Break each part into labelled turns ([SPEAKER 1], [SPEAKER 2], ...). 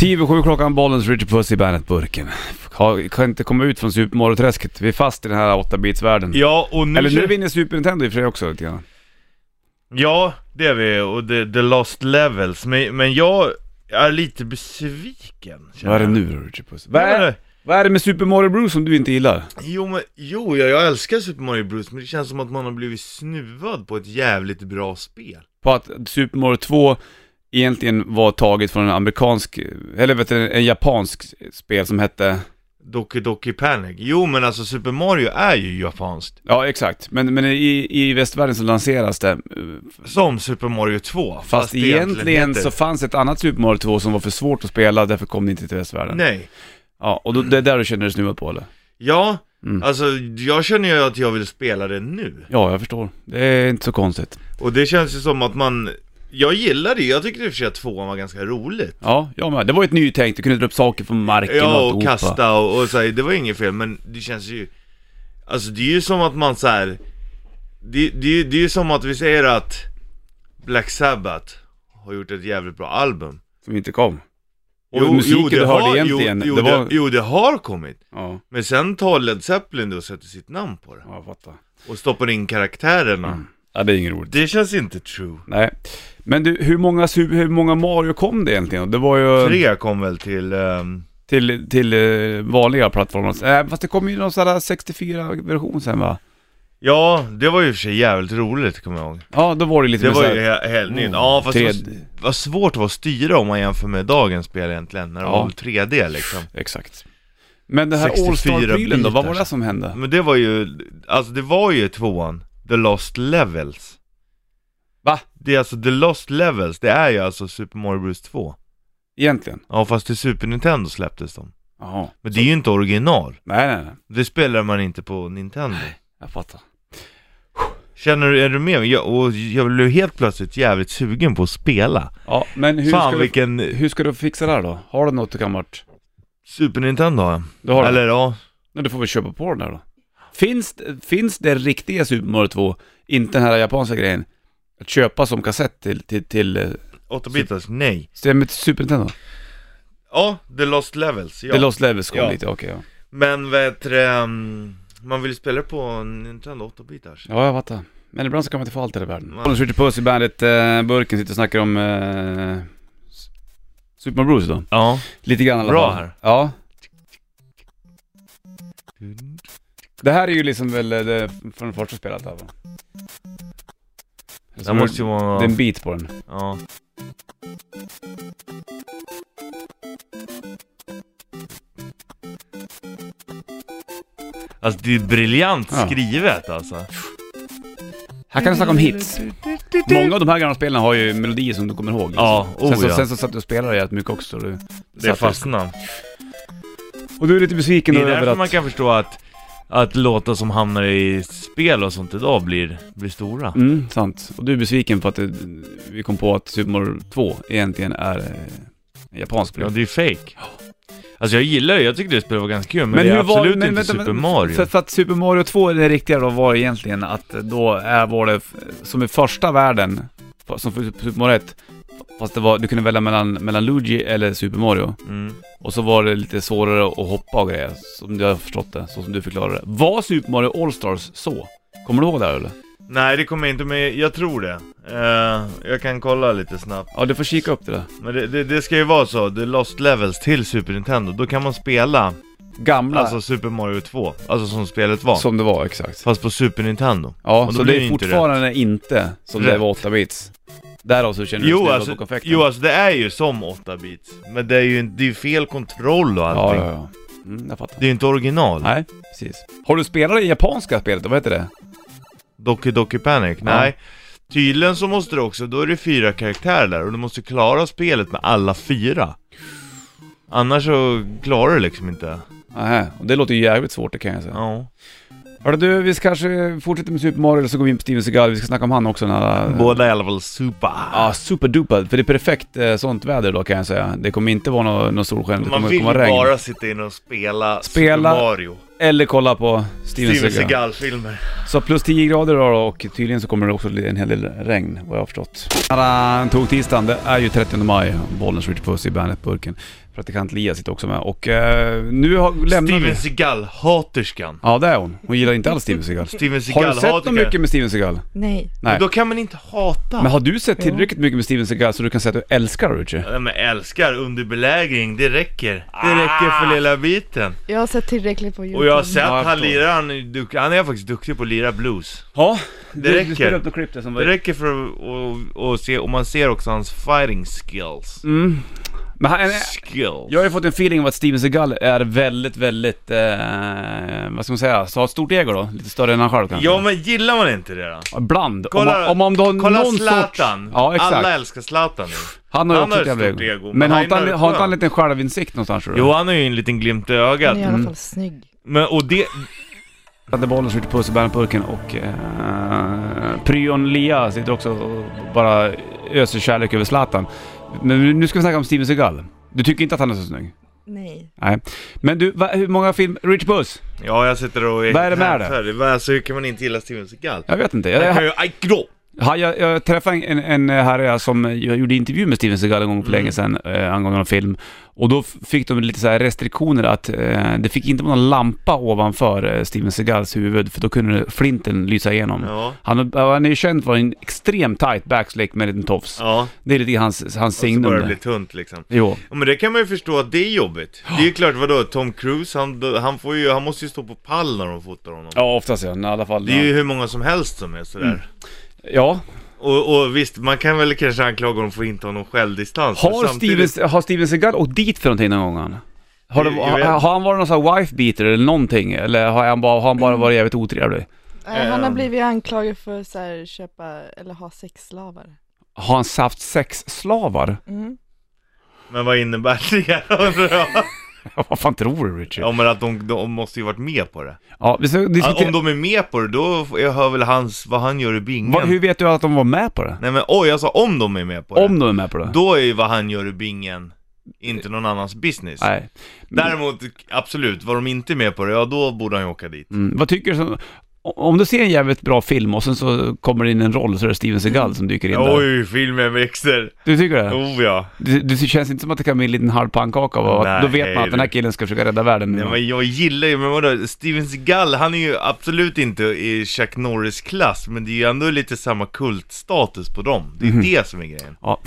[SPEAKER 1] 10 över sju klockan, Bollens Richard Puss i Bandet-burken. Har- Kan inte komma ut från supermoroträsket. Vi är fast i den här 8-bitsvärlden.
[SPEAKER 2] Ja, och nu...
[SPEAKER 1] Eller nu vinner Super Nintendo i och för sig också lite grann.
[SPEAKER 2] Ja, det är vi, och the, the lost levels, men, men jag är lite besviken känner
[SPEAKER 1] Vad är det
[SPEAKER 2] jag.
[SPEAKER 1] nu då Richard Puss? Vad
[SPEAKER 2] Nej,
[SPEAKER 1] är,
[SPEAKER 2] men,
[SPEAKER 1] vad är det med Super Mario Bros som du inte gillar?
[SPEAKER 2] jo, men, jo jag, jag älskar Super Mario Bros, men det känns som att man har blivit snuvad på ett jävligt bra spel
[SPEAKER 1] På att Super Mario 2 egentligen var taget från en amerikansk, eller vet du, en japansk spel som hette...
[SPEAKER 2] Doki Doki Panic, jo men alltså Super Mario är ju japanskt
[SPEAKER 1] Ja, exakt. Men, men i, i västvärlden så lanseras det. eh, Fast,
[SPEAKER 2] Som Super Mario 2, fast, det
[SPEAKER 1] egentligen
[SPEAKER 2] heter-
[SPEAKER 1] så fanns ett annat Super Mario 2 som var för svårt att spela, därför kom det inte till västvärlden.
[SPEAKER 2] Nej,
[SPEAKER 1] Ja, och då, det är där du känner dig snuvad på eller?
[SPEAKER 2] ja,
[SPEAKER 1] Mm.
[SPEAKER 2] alltså jag känner ju att jag vill spela det nu
[SPEAKER 1] Ja, jag förstår. Det är inte så konstigt.
[SPEAKER 2] Och det känns ju som att man, jag gillar det, jag tyckte i och för sig att tvåan var ganska roligt
[SPEAKER 1] Ja, jag med. Det var ju ett nytänk, du kunde dra upp saker från marken och
[SPEAKER 2] Ja, och
[SPEAKER 1] alltihopa.
[SPEAKER 2] kasta och, och så här, det var inget fel men det känns ju Alltså det är ju som att man så här. Det, det, det är ju som att vi säger att Black Sabbath har gjort ett jävligt bra album
[SPEAKER 1] Som inte kom. Och musiken du hörde egentligen,
[SPEAKER 2] jo,
[SPEAKER 1] det
[SPEAKER 2] jo,
[SPEAKER 1] var-
[SPEAKER 2] det, jo det har kommit
[SPEAKER 1] Ja,
[SPEAKER 2] Men sen tar Led Zeppelin det och sätter sitt namn på det
[SPEAKER 1] ja jag fattar.
[SPEAKER 2] Och stoppar in karaktärerna
[SPEAKER 1] Ja, det är inget roligt.
[SPEAKER 2] Det känns inte true
[SPEAKER 1] Nej. Men du, hur många, su- hur många Mario kom det egentligen? Det var ju...
[SPEAKER 2] Tre kom väl till, ehm,
[SPEAKER 1] Till, till eh, vanliga plattformar. Äh, fast det kom ju någon sån här 64-version sen va?
[SPEAKER 2] ja det var ju i och för sig jävligt roligt kommer jag ihåg
[SPEAKER 1] Ja, då var det lite
[SPEAKER 2] Det
[SPEAKER 1] mer
[SPEAKER 2] var
[SPEAKER 1] så här-
[SPEAKER 2] ju he- helgen
[SPEAKER 1] Mm.
[SPEAKER 2] in. Ja fast det
[SPEAKER 1] Tred-
[SPEAKER 2] var, vad svårt det var att styra om man jämför med dagens spel egentligen, när det
[SPEAKER 1] Ja.
[SPEAKER 2] var 3D liksom
[SPEAKER 1] Exakt. Men den här
[SPEAKER 2] 64
[SPEAKER 1] All-Star-prylen då, vad var
[SPEAKER 2] bitar.
[SPEAKER 1] det som hände?
[SPEAKER 2] Men det var ju, alltså det var ju tvåan, The Lost Levels
[SPEAKER 1] Va?
[SPEAKER 2] Det är alltså The Lost Levels, det är ju alltså Super Mario Bros 2
[SPEAKER 1] Egentligen?
[SPEAKER 2] Ja fast till Super Nintendo släpptes de
[SPEAKER 1] Jaha.
[SPEAKER 2] Men det är ju inte original,
[SPEAKER 1] Nej, nej, nej.
[SPEAKER 2] det spelar man inte på Nintendo
[SPEAKER 1] Jag fattar.
[SPEAKER 2] Känner du, är du med? Jag, och jag blev helt plötsligt jävligt sugen på att spela
[SPEAKER 1] Ja, men hur
[SPEAKER 2] Fan
[SPEAKER 1] ska,
[SPEAKER 2] vilken
[SPEAKER 1] du, hur ska du fixa det här då? Har du något gammalt?
[SPEAKER 2] Super Nintendo har jag
[SPEAKER 1] Du har Eller...
[SPEAKER 2] Eller ja,
[SPEAKER 1] Nej, du får väl köpa på den där då. Finns, finns det riktiga Super Mario 2, inte den här japanska grejen, att köpa som kassett till, till, till eh,
[SPEAKER 2] 8-bitars, nej
[SPEAKER 1] systemet Super Nintendo?
[SPEAKER 2] Ja, The Lost Levels, ja.
[SPEAKER 1] Det Lost Levels kom
[SPEAKER 2] Ja.
[SPEAKER 1] lite, okej ja.
[SPEAKER 2] Men vad heter det, mm, man vill spela på Nintendo 8-bitars.
[SPEAKER 1] Ja, jag fattar. Men ibland så kan man inte få allt här i världen.
[SPEAKER 2] Nej.
[SPEAKER 1] Bollens Ritchie Puss i bandet eh, Burken sitter och snackar om eh, S- Super Mario Bros då.
[SPEAKER 2] Ja.
[SPEAKER 1] Lite grann i alla
[SPEAKER 2] Bra
[SPEAKER 1] fall.
[SPEAKER 2] här.
[SPEAKER 1] Ja. Det här är ju liksom väl eh, det från det första spelet här va?
[SPEAKER 2] Det måste ju
[SPEAKER 1] Det är
[SPEAKER 2] vara...
[SPEAKER 1] en beat på den.
[SPEAKER 2] Ja. Alltså det är briljant
[SPEAKER 1] Ja.
[SPEAKER 2] skrivet alltså.
[SPEAKER 1] Här kan du snacka om hits. Många av de här gamla spelen har ju melodier som du kommer ihåg. liksom.
[SPEAKER 2] Ja, oh
[SPEAKER 1] sen, så,
[SPEAKER 2] ja.
[SPEAKER 1] sen så satt du och spelade jävligt mycket också. Du,
[SPEAKER 2] Det
[SPEAKER 1] satt-
[SPEAKER 2] fastnar.
[SPEAKER 1] Och du är lite besviken
[SPEAKER 2] Det
[SPEAKER 1] då
[SPEAKER 2] är
[SPEAKER 1] över
[SPEAKER 2] därför
[SPEAKER 1] att...
[SPEAKER 2] man kan förstå att, att låtar som hamnar i spel och sånt idag blir, blir stora.
[SPEAKER 1] Mm, sant. Och du är besviken för att det, vi kom på att Super Mario 2 egentligen är eh, en japansk
[SPEAKER 2] Ja,
[SPEAKER 1] produkt.
[SPEAKER 2] det är ju fake. Alltså jag gillar det, jag tyckte det spelet var ganska kul, men, det är
[SPEAKER 1] hur
[SPEAKER 2] absolut inte
[SPEAKER 1] vänta,
[SPEAKER 2] Super
[SPEAKER 1] men-
[SPEAKER 2] Mario.
[SPEAKER 1] För, för att Super Mario 2, är det riktiga då, var egentligen att då är, var det f- som i första världen, fa- som för Super Mario 1, fast det var, du kunde välja mellan, mellan Luigi eller Super Mario.
[SPEAKER 2] Mm.
[SPEAKER 1] Och så var det lite svårare att hoppa och grejer, som jag har förstått det, så som du förklarade det. Var Super Mario All-Stars så? Kommer du ihåg det här eller?
[SPEAKER 2] Nej det kommer jag inte med, jag tror det. Eh, jag kan kolla lite snabbt.
[SPEAKER 1] Ja, du får kika upp det där.
[SPEAKER 2] Men det, det, det ska ju vara så, The Lost Levels till Super Nintendo, då kan man spela
[SPEAKER 1] Gamla,
[SPEAKER 2] alltså Super Mario 2, alltså som spelet var.
[SPEAKER 1] som det var exakt.
[SPEAKER 2] Fast på Super Nintendo.
[SPEAKER 1] Ja,
[SPEAKER 2] Och
[SPEAKER 1] så det
[SPEAKER 2] då blir
[SPEAKER 1] är
[SPEAKER 2] det inte
[SPEAKER 1] fortfarande inte som det
[SPEAKER 2] Rätt.
[SPEAKER 1] var 8 bits. Därav så känner du
[SPEAKER 2] Jo
[SPEAKER 1] snälla
[SPEAKER 2] alltså,
[SPEAKER 1] på konfekten.
[SPEAKER 2] jo alltså det är ju som 8-bit, men det är ju det är ju fel kontroll och
[SPEAKER 1] ja,
[SPEAKER 2] allting.
[SPEAKER 1] ja, ja. Mm, jag fattar.
[SPEAKER 2] Det är ju inte original.
[SPEAKER 1] Nej, precis. Har du spelat det japanska spelet då? Vad heter det?
[SPEAKER 2] Doki Doki Panic, nej. Tydligen så måste du också, då är det fyra karaktärer där och du måste klara spelet med alla fyra. Annars så klarar du liksom inte.
[SPEAKER 1] Nähä, och det låter ju jävligt svårt det kan jag säga.
[SPEAKER 2] Ja.
[SPEAKER 1] Hörru du, vi ska kanske fortsätter med Super Mario eller så går vi in på Steven Seagal. Vi ska snacka om han också den här... eh,
[SPEAKER 2] Båda i alla fall super.
[SPEAKER 1] Ja, superduper. För det är perfekt eh, sånt väder då kan jag säga. Det kommer inte vara någon nå solsken, det
[SPEAKER 2] Man
[SPEAKER 1] kommer
[SPEAKER 2] vill
[SPEAKER 1] komma regn.
[SPEAKER 2] bara sitta inne och spela,
[SPEAKER 1] Spela
[SPEAKER 2] Super Mario.
[SPEAKER 1] Eller kolla på Steven,
[SPEAKER 2] Steven
[SPEAKER 1] Seagal.
[SPEAKER 2] Seagal-filmer.
[SPEAKER 1] Så plus 10 grader idag då och tydligen så kommer det också en hel del regn vad jag har förstått. Tog tisdagen, det är ju 30 maj. Bollens Ritchie Puss i Bandet-burken. Praktikant Lia sitter också med och eh, nu har, lämnar
[SPEAKER 2] Steven
[SPEAKER 1] vi...
[SPEAKER 2] Seagal-haterskan.
[SPEAKER 1] Ja, det är hon. Hon gillar inte alls Steven Seagal.
[SPEAKER 2] Steven
[SPEAKER 1] Har du sett något
[SPEAKER 2] Seagal-haterskan.
[SPEAKER 1] mycket med Steven Seagal?
[SPEAKER 3] Nej.
[SPEAKER 1] Nej.
[SPEAKER 2] Då kan man inte hata.
[SPEAKER 1] Men har du sett
[SPEAKER 3] Jo.
[SPEAKER 1] tillräckligt mycket med Steven Seagal så du kan säga att du älskar Richie?
[SPEAKER 2] Ja, men älskar underbelägring, det räcker. Det
[SPEAKER 1] Ah.
[SPEAKER 2] räcker för lilla biten.
[SPEAKER 3] Jag har sett tillräckligt på Youtube.
[SPEAKER 2] Och jag har sett
[SPEAKER 1] Ja, jag
[SPEAKER 2] han
[SPEAKER 1] förstår.
[SPEAKER 2] lirar, han är, duk- han är faktiskt duktig på att lira blues.
[SPEAKER 1] Ja,
[SPEAKER 2] Det
[SPEAKER 1] du,
[SPEAKER 2] räcker.
[SPEAKER 1] Du spelade upp något klipp där som var...
[SPEAKER 2] Det räcker för att och, och se, och man ser också hans fighting skills.
[SPEAKER 1] Mm. Men han, en-
[SPEAKER 2] Skills.
[SPEAKER 1] jag har ju fått en feeling av att Steven Seagal är väldigt, väldigt, eh, vad ska man säga, så har ett stort ego då? Lite större än han själv kanske?
[SPEAKER 2] Ja men gillar man inte det då?
[SPEAKER 1] Ibland.
[SPEAKER 2] Kolla-
[SPEAKER 1] om, man- om, om du har
[SPEAKER 2] Kolla
[SPEAKER 1] någon
[SPEAKER 2] Zlatan!
[SPEAKER 1] sorts... Ja, exakt.
[SPEAKER 2] Alla älskar Zlatan nu.
[SPEAKER 1] Han har ju
[SPEAKER 2] han
[SPEAKER 1] också
[SPEAKER 2] har
[SPEAKER 1] ett
[SPEAKER 2] ett
[SPEAKER 1] jävla
[SPEAKER 2] stort ego,
[SPEAKER 1] ego.
[SPEAKER 2] men
[SPEAKER 1] Men har inte
[SPEAKER 2] han är
[SPEAKER 1] han, har inte
[SPEAKER 2] skön.
[SPEAKER 1] han en liten självinsikt någonstans tror du?
[SPEAKER 2] Jo han har ju en liten glimt i ögat.
[SPEAKER 3] Han är i alla fall snygg.
[SPEAKER 2] Men, och det...
[SPEAKER 1] Satte bollen, skjuter puss i bärnpurken och eh, pryon Lia sitter också och bara öser kärlek över Zlatan. Men nu ska vi snacka om Steven Seagal. Du tycker inte att han är så snygg?
[SPEAKER 3] Nej.
[SPEAKER 1] Nej. Men du, va, hur många film... Rich Puss?
[SPEAKER 2] Ja jag sitter och...
[SPEAKER 1] Vad är det med det?
[SPEAKER 2] För- Alltså hur kan man inte gilla Steven Seagal?
[SPEAKER 1] Jag vet inte.
[SPEAKER 2] Han
[SPEAKER 1] Jag,
[SPEAKER 2] kan ju... Aj, grå.
[SPEAKER 1] Ja, jag, jag träffade en, en herre som jag gjorde intervju med Steven Seagal en gång för länge sedan eh, angående någon film. Och då f- fick de lite så här restriktioner att eh, det fick inte vara någon lampa ovanför eh, Steven Seagals huvud för då kunde flinten lysa igenom.
[SPEAKER 2] Ja.
[SPEAKER 1] Han, han är ju känd för en extremt tight backslick med en liten tofs.
[SPEAKER 2] Ja.
[SPEAKER 1] Det är lite grann hans, hans
[SPEAKER 2] Och så
[SPEAKER 1] signum.
[SPEAKER 2] börjar det
[SPEAKER 1] där.
[SPEAKER 2] bli tunt liksom.
[SPEAKER 1] Jo.
[SPEAKER 2] Ja, men det kan man ju förstå att det är jobbigt. Det är ju klart, vadå, Tom Cruise, han, han, får ju, han måste ju stå på pall när de fotar honom.
[SPEAKER 1] Ja, Mm. oftast ja. I alla fall.
[SPEAKER 2] Det är ju hur många som helst som är sådär.
[SPEAKER 1] Ja.
[SPEAKER 2] Och, och visst, man kan väl kanske anklaga honom för att inte ha någon självdistans. men
[SPEAKER 1] Har, Steven, har Steven Seagal åkt dit för någonting någon gång? han? Har, det,
[SPEAKER 2] Jag- jag vet.
[SPEAKER 1] har, har han varit någon sån här wife beater eller någonting? Eller har han bara, har han bara varit jävligt otrevlig?
[SPEAKER 3] Nej, Eh, han har
[SPEAKER 2] Ehm.
[SPEAKER 3] blivit anklagad för så här, köpa eller ha sexslavar.
[SPEAKER 1] Har han haft sex slavar?
[SPEAKER 3] Mm.
[SPEAKER 2] Men vad innebär det? undrar jag?
[SPEAKER 1] Vad fan tror du Richard? Ja,
[SPEAKER 2] ja men att de, de måste ju varit med på det.
[SPEAKER 1] vi ska
[SPEAKER 2] Ja,
[SPEAKER 1] diskutera.
[SPEAKER 2] om de är med på det, då jag hör väl hans, vad han gör i bingen.
[SPEAKER 1] Vad- hur vet du att de var med på det?
[SPEAKER 2] Nej men oj, jag sa om de är med på det.
[SPEAKER 1] Om de är med på det?
[SPEAKER 2] Då är ju vad han gör i bingen inte någon annans business.
[SPEAKER 1] Nej.
[SPEAKER 2] Däremot, absolut, var de inte med på det, ja då borde han ju åka dit.
[SPEAKER 1] Mm. Vad tycker du som... o- Om du ser en jävligt bra film och sen så kommer det in en roll så är det Steven
[SPEAKER 2] Mm.
[SPEAKER 1] Seagal som dyker in där.
[SPEAKER 2] Oj, filmen växer!
[SPEAKER 1] Du tycker det?
[SPEAKER 2] Oh ja.
[SPEAKER 1] Det, det känns inte som att det kan bli en liten halv pannkaka av att-
[SPEAKER 2] Nej,
[SPEAKER 1] Då vet man att den här
[SPEAKER 2] du.
[SPEAKER 1] killen ska försöka rädda världen nu.
[SPEAKER 2] Nej, men jag gillar ju, men vadå, Steven Seagal, han är ju absolut inte i Chuck Norris klass, men det är ju ändå lite samma kultstatus på dem. Det är det som är grejen.
[SPEAKER 1] ja.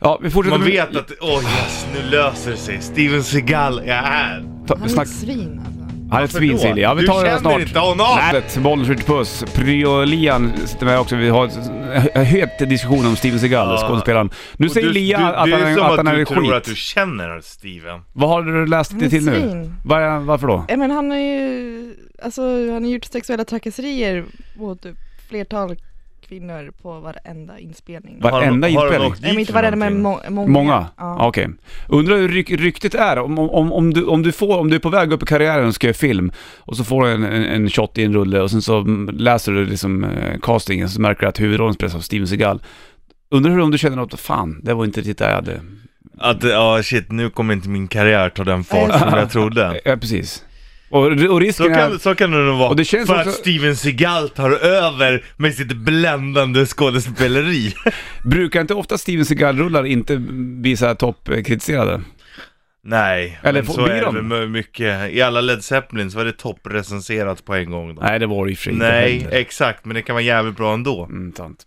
[SPEAKER 1] ja, vi fortsätter
[SPEAKER 2] Man
[SPEAKER 1] Mhm. med-
[SPEAKER 2] vet att, åh yes, nu löser det sig. Steven Seagal är här.
[SPEAKER 1] Ta,
[SPEAKER 3] Han är
[SPEAKER 1] snack...
[SPEAKER 3] ett svin alltså.
[SPEAKER 1] Han är ett svin
[SPEAKER 2] då?
[SPEAKER 1] Silly. Ja, vi
[SPEAKER 2] Du
[SPEAKER 1] tar det här
[SPEAKER 2] känner
[SPEAKER 1] snart.
[SPEAKER 2] inte honom!
[SPEAKER 1] Nej. Bollen skjuter puss. Pryo Lian sitter med också. Vi har en het diskussion om Steven Seagal,
[SPEAKER 2] Ja.
[SPEAKER 1] skådespelaren. Nu
[SPEAKER 2] Och
[SPEAKER 1] säger Lia
[SPEAKER 2] du,
[SPEAKER 1] att
[SPEAKER 2] det
[SPEAKER 1] han
[SPEAKER 2] är
[SPEAKER 1] är,
[SPEAKER 2] som
[SPEAKER 1] att
[SPEAKER 2] att,
[SPEAKER 1] han
[SPEAKER 2] du
[SPEAKER 1] är
[SPEAKER 2] tror att du
[SPEAKER 1] skit.
[SPEAKER 2] känner Steven.
[SPEAKER 1] Vad har du läst
[SPEAKER 3] Han
[SPEAKER 1] det
[SPEAKER 3] är
[SPEAKER 1] till nu?
[SPEAKER 3] svin.
[SPEAKER 1] Vad är- varför då?
[SPEAKER 3] Ja, men han har ju, alltså han har gjort sexuella trakasserier mot typ flertal kvinnor på varenda inspelning.
[SPEAKER 1] Va- Varenda
[SPEAKER 2] har
[SPEAKER 1] inspelning.
[SPEAKER 2] åkt dit
[SPEAKER 3] Nej men inte
[SPEAKER 2] för
[SPEAKER 3] varenda men
[SPEAKER 2] någonting?
[SPEAKER 3] må- många.
[SPEAKER 1] Många?
[SPEAKER 3] Ja.
[SPEAKER 1] Ja. Okej. Undrar hur ryk, ryktet är. Om, om, om, du, om, du får, om du är på väg upp i karriären och ska göra film och så får du en, en, en shot i en rulle och sen så mm, läser du liksom eh, castingen så märker du att huvudrollen spelas av Steven Seagal. Undrar hur om du känner något, fan, det var inte riktigt det jag hade.
[SPEAKER 2] Att, ja shit, nu kommer inte min karriär ta den fart
[SPEAKER 3] Nej.
[SPEAKER 2] som jag trodde.
[SPEAKER 1] Ja, precis. Och, och
[SPEAKER 2] Så
[SPEAKER 1] risken
[SPEAKER 2] kan,
[SPEAKER 1] är...
[SPEAKER 2] så kan det nog vara.
[SPEAKER 1] Och det känns
[SPEAKER 2] för
[SPEAKER 1] också-
[SPEAKER 2] att Steven Seagal tar över med sitt bländande skådespeleri.
[SPEAKER 1] Brukar inte ofta Steven Seagal-rullar inte bli så här toppkritiserade?
[SPEAKER 2] Nej,
[SPEAKER 1] Eller
[SPEAKER 2] men
[SPEAKER 1] får-
[SPEAKER 2] så
[SPEAKER 1] blir
[SPEAKER 2] är det
[SPEAKER 1] de?
[SPEAKER 2] väl med mycket. I alla Led Zeppelin så var det topprecenserat på en gång. Då.
[SPEAKER 1] Nej, det var det i och för sig inte
[SPEAKER 2] Nej,
[SPEAKER 1] heller.
[SPEAKER 2] exakt, men det kan vara jävligt bra ändå.
[SPEAKER 1] Mm, sant.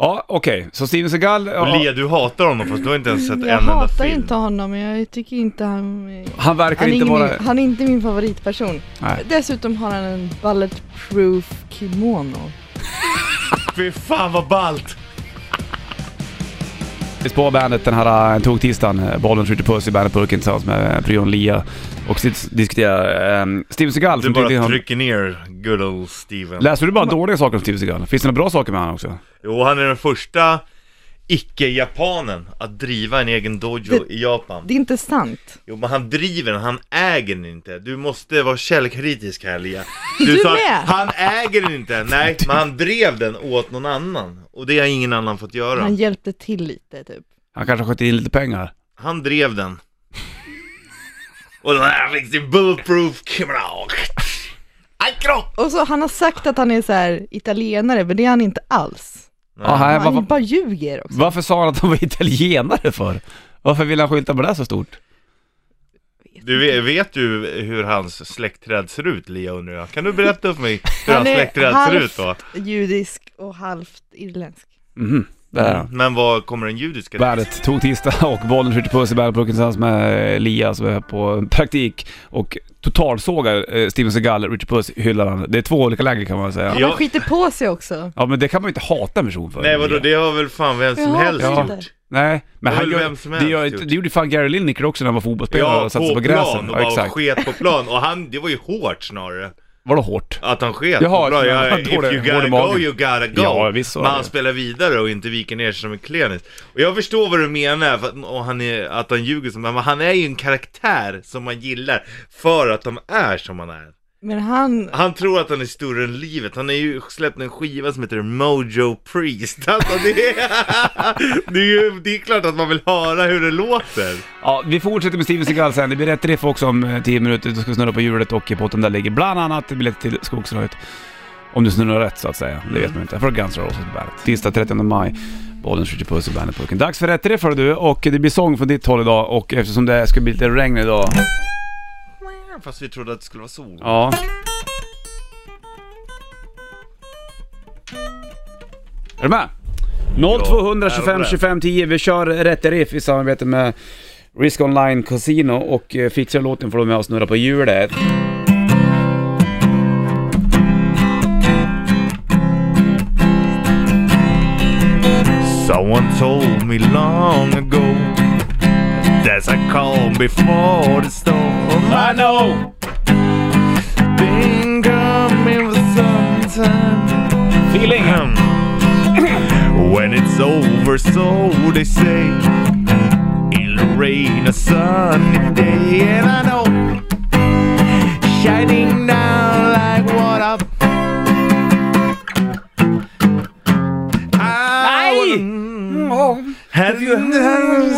[SPEAKER 1] Ja, okej. Så Steven Seagal...
[SPEAKER 2] Och
[SPEAKER 1] Ja,
[SPEAKER 2] Lia, du hatar honom fast du har inte ens sett
[SPEAKER 3] Jag
[SPEAKER 2] en enda
[SPEAKER 3] hatar
[SPEAKER 2] film.
[SPEAKER 3] inte honom men jag tycker inte han... eh,
[SPEAKER 1] han verkar
[SPEAKER 3] Han är,
[SPEAKER 1] inte
[SPEAKER 3] ingen,
[SPEAKER 1] vara...
[SPEAKER 3] min, han är inte min favoritperson.
[SPEAKER 1] Nej.
[SPEAKER 3] Dessutom har han en bulletproof kimono.
[SPEAKER 2] Fy fan vad ballt!
[SPEAKER 1] Vi spår bandet den här eh, toktisdagen. Eh, Bollen skjuter puss i bandetburken tillsammans med eh, Pryon Lia. Och sit- diskuterar um, Steven Seagal
[SPEAKER 2] Du
[SPEAKER 1] som
[SPEAKER 2] bara
[SPEAKER 1] tydligen har...
[SPEAKER 2] trycker ner good old Steven.
[SPEAKER 1] Läser du bara dåliga saker om Steven Seagal? Finns det några bra saker med honom också?
[SPEAKER 2] Jo, han är den första icke-japanen att driva en egen dojo
[SPEAKER 3] Det-
[SPEAKER 2] i Japan.
[SPEAKER 3] Det är inte sant.
[SPEAKER 2] Jo, men han driver den, han äger den inte. Du måste vara källkritisk här, Lia.
[SPEAKER 3] Du
[SPEAKER 2] sa,
[SPEAKER 3] med!
[SPEAKER 2] han äger den inte. Nej, men han drev den åt någon annan. Och det har ingen annan fått
[SPEAKER 3] Han
[SPEAKER 2] göra.
[SPEAKER 3] hjälpte till lite typ.
[SPEAKER 1] Han kanske har skjutit in lite pengar.
[SPEAKER 2] Han drev den. Och den här fick sin bulletproof kamera. Aj, kropp!
[SPEAKER 3] Och så han har sagt att han är så här italienare men det är han inte alls.
[SPEAKER 1] Ja, Ah, här,
[SPEAKER 3] han
[SPEAKER 1] varför,
[SPEAKER 3] bara ljuger också.
[SPEAKER 1] varför sa han att han var italienare för? Varför ville han skylta med det så stort?
[SPEAKER 2] Du vet, vet du hur hans släktträd ser ut, Lia undrar jag. Kan du berätta för mig hur hans släktträd ser ut då?
[SPEAKER 3] halvt judisk och halvt irländsk.
[SPEAKER 1] Mhm, där är han.
[SPEAKER 2] Men vad kommer den judiska
[SPEAKER 1] Mm. Värdet tog tisdag och bollen skjuter puss i bärpucken tillsammans med Elias som är på praktik och totalsågar eh, Steven Seagal, Richard Puss hyllar han. Det är två olika läger kan man säga.
[SPEAKER 3] Han
[SPEAKER 2] Ja.
[SPEAKER 3] skiter på sig också.
[SPEAKER 1] Ja men det kan man ju inte hata en person för.
[SPEAKER 2] Nej vadå, det har väl fan vem som
[SPEAKER 3] Jag
[SPEAKER 2] helst
[SPEAKER 3] hatar
[SPEAKER 2] gjort?
[SPEAKER 3] det.
[SPEAKER 1] Nej, men han
[SPEAKER 2] Det har väl
[SPEAKER 1] gör,
[SPEAKER 2] vem som
[SPEAKER 1] det,
[SPEAKER 2] helst
[SPEAKER 1] gör, inte-
[SPEAKER 2] gjort.
[SPEAKER 1] det gjorde fan Gary Lineker också när han var fotbollsspelare
[SPEAKER 2] Ja,
[SPEAKER 1] och satsade
[SPEAKER 2] på,
[SPEAKER 1] på
[SPEAKER 2] plan
[SPEAKER 1] gräsen.
[SPEAKER 2] och
[SPEAKER 1] Ja,
[SPEAKER 2] bara
[SPEAKER 1] exakt.
[SPEAKER 2] sket på plan. Och han, det var ju hårt snarare.
[SPEAKER 1] Vadå hårt?
[SPEAKER 2] Att han sket
[SPEAKER 1] Jaha,
[SPEAKER 2] på plan.
[SPEAKER 1] att han-
[SPEAKER 2] Ja,
[SPEAKER 1] han
[SPEAKER 2] if
[SPEAKER 1] tog det-
[SPEAKER 2] you
[SPEAKER 1] hård
[SPEAKER 2] gotta
[SPEAKER 1] i
[SPEAKER 2] go,
[SPEAKER 1] magen.
[SPEAKER 2] you gotta go.
[SPEAKER 1] Ja, visst så
[SPEAKER 2] Men
[SPEAKER 1] är
[SPEAKER 2] han
[SPEAKER 1] det.
[SPEAKER 2] spelar vidare och inte viker ner sig som en klenis. Och jag förstår vad du menar, för att, och han är, att han ljuger som men han är ju en karaktär som man gillar för att de är som han är.
[SPEAKER 3] Men han,
[SPEAKER 2] Han tror att han är större än livet, han har ju släppt en skiva som heter Mojo Priest alltså, det, är, det, är ju, det är klart att man vill höra hur det låter
[SPEAKER 1] Ja, vi fortsätter med Steven Seagal sen. Det blir rätt riff också om eh, 10 minuter. Då ska vi snurra på hjulet och i potten där ligger bland annat biljetter till Skogsröjet. Om du snurrar rätt så att säga. Det vet man inte. För Guns N' Roses på bandet. Tisdag 30 maj. Bollen skjuter puss i bandetburken. Dags för rätt riff hör du och det blir sång från ditt håll idag och eftersom det ska bli lite regn idag.
[SPEAKER 2] Fast vi trodde att det skulle vara sol
[SPEAKER 1] Ja. Är du med? 0200 25 25 10. Vi kör Rätt Riff i samarbete med Risk Online Casino och eh, fixar låten får du med oss snurra på hjulet.
[SPEAKER 2] Someone told me long ago There's a calm before the storm
[SPEAKER 1] I know!
[SPEAKER 2] I've been coming for some time
[SPEAKER 1] Feeling!
[SPEAKER 2] Ahem. When it's over, so they say, it'll rain a sunny day, and I know, shining down like water. I
[SPEAKER 1] Nej!
[SPEAKER 2] wanna-
[SPEAKER 1] Oh.
[SPEAKER 2] Have you heard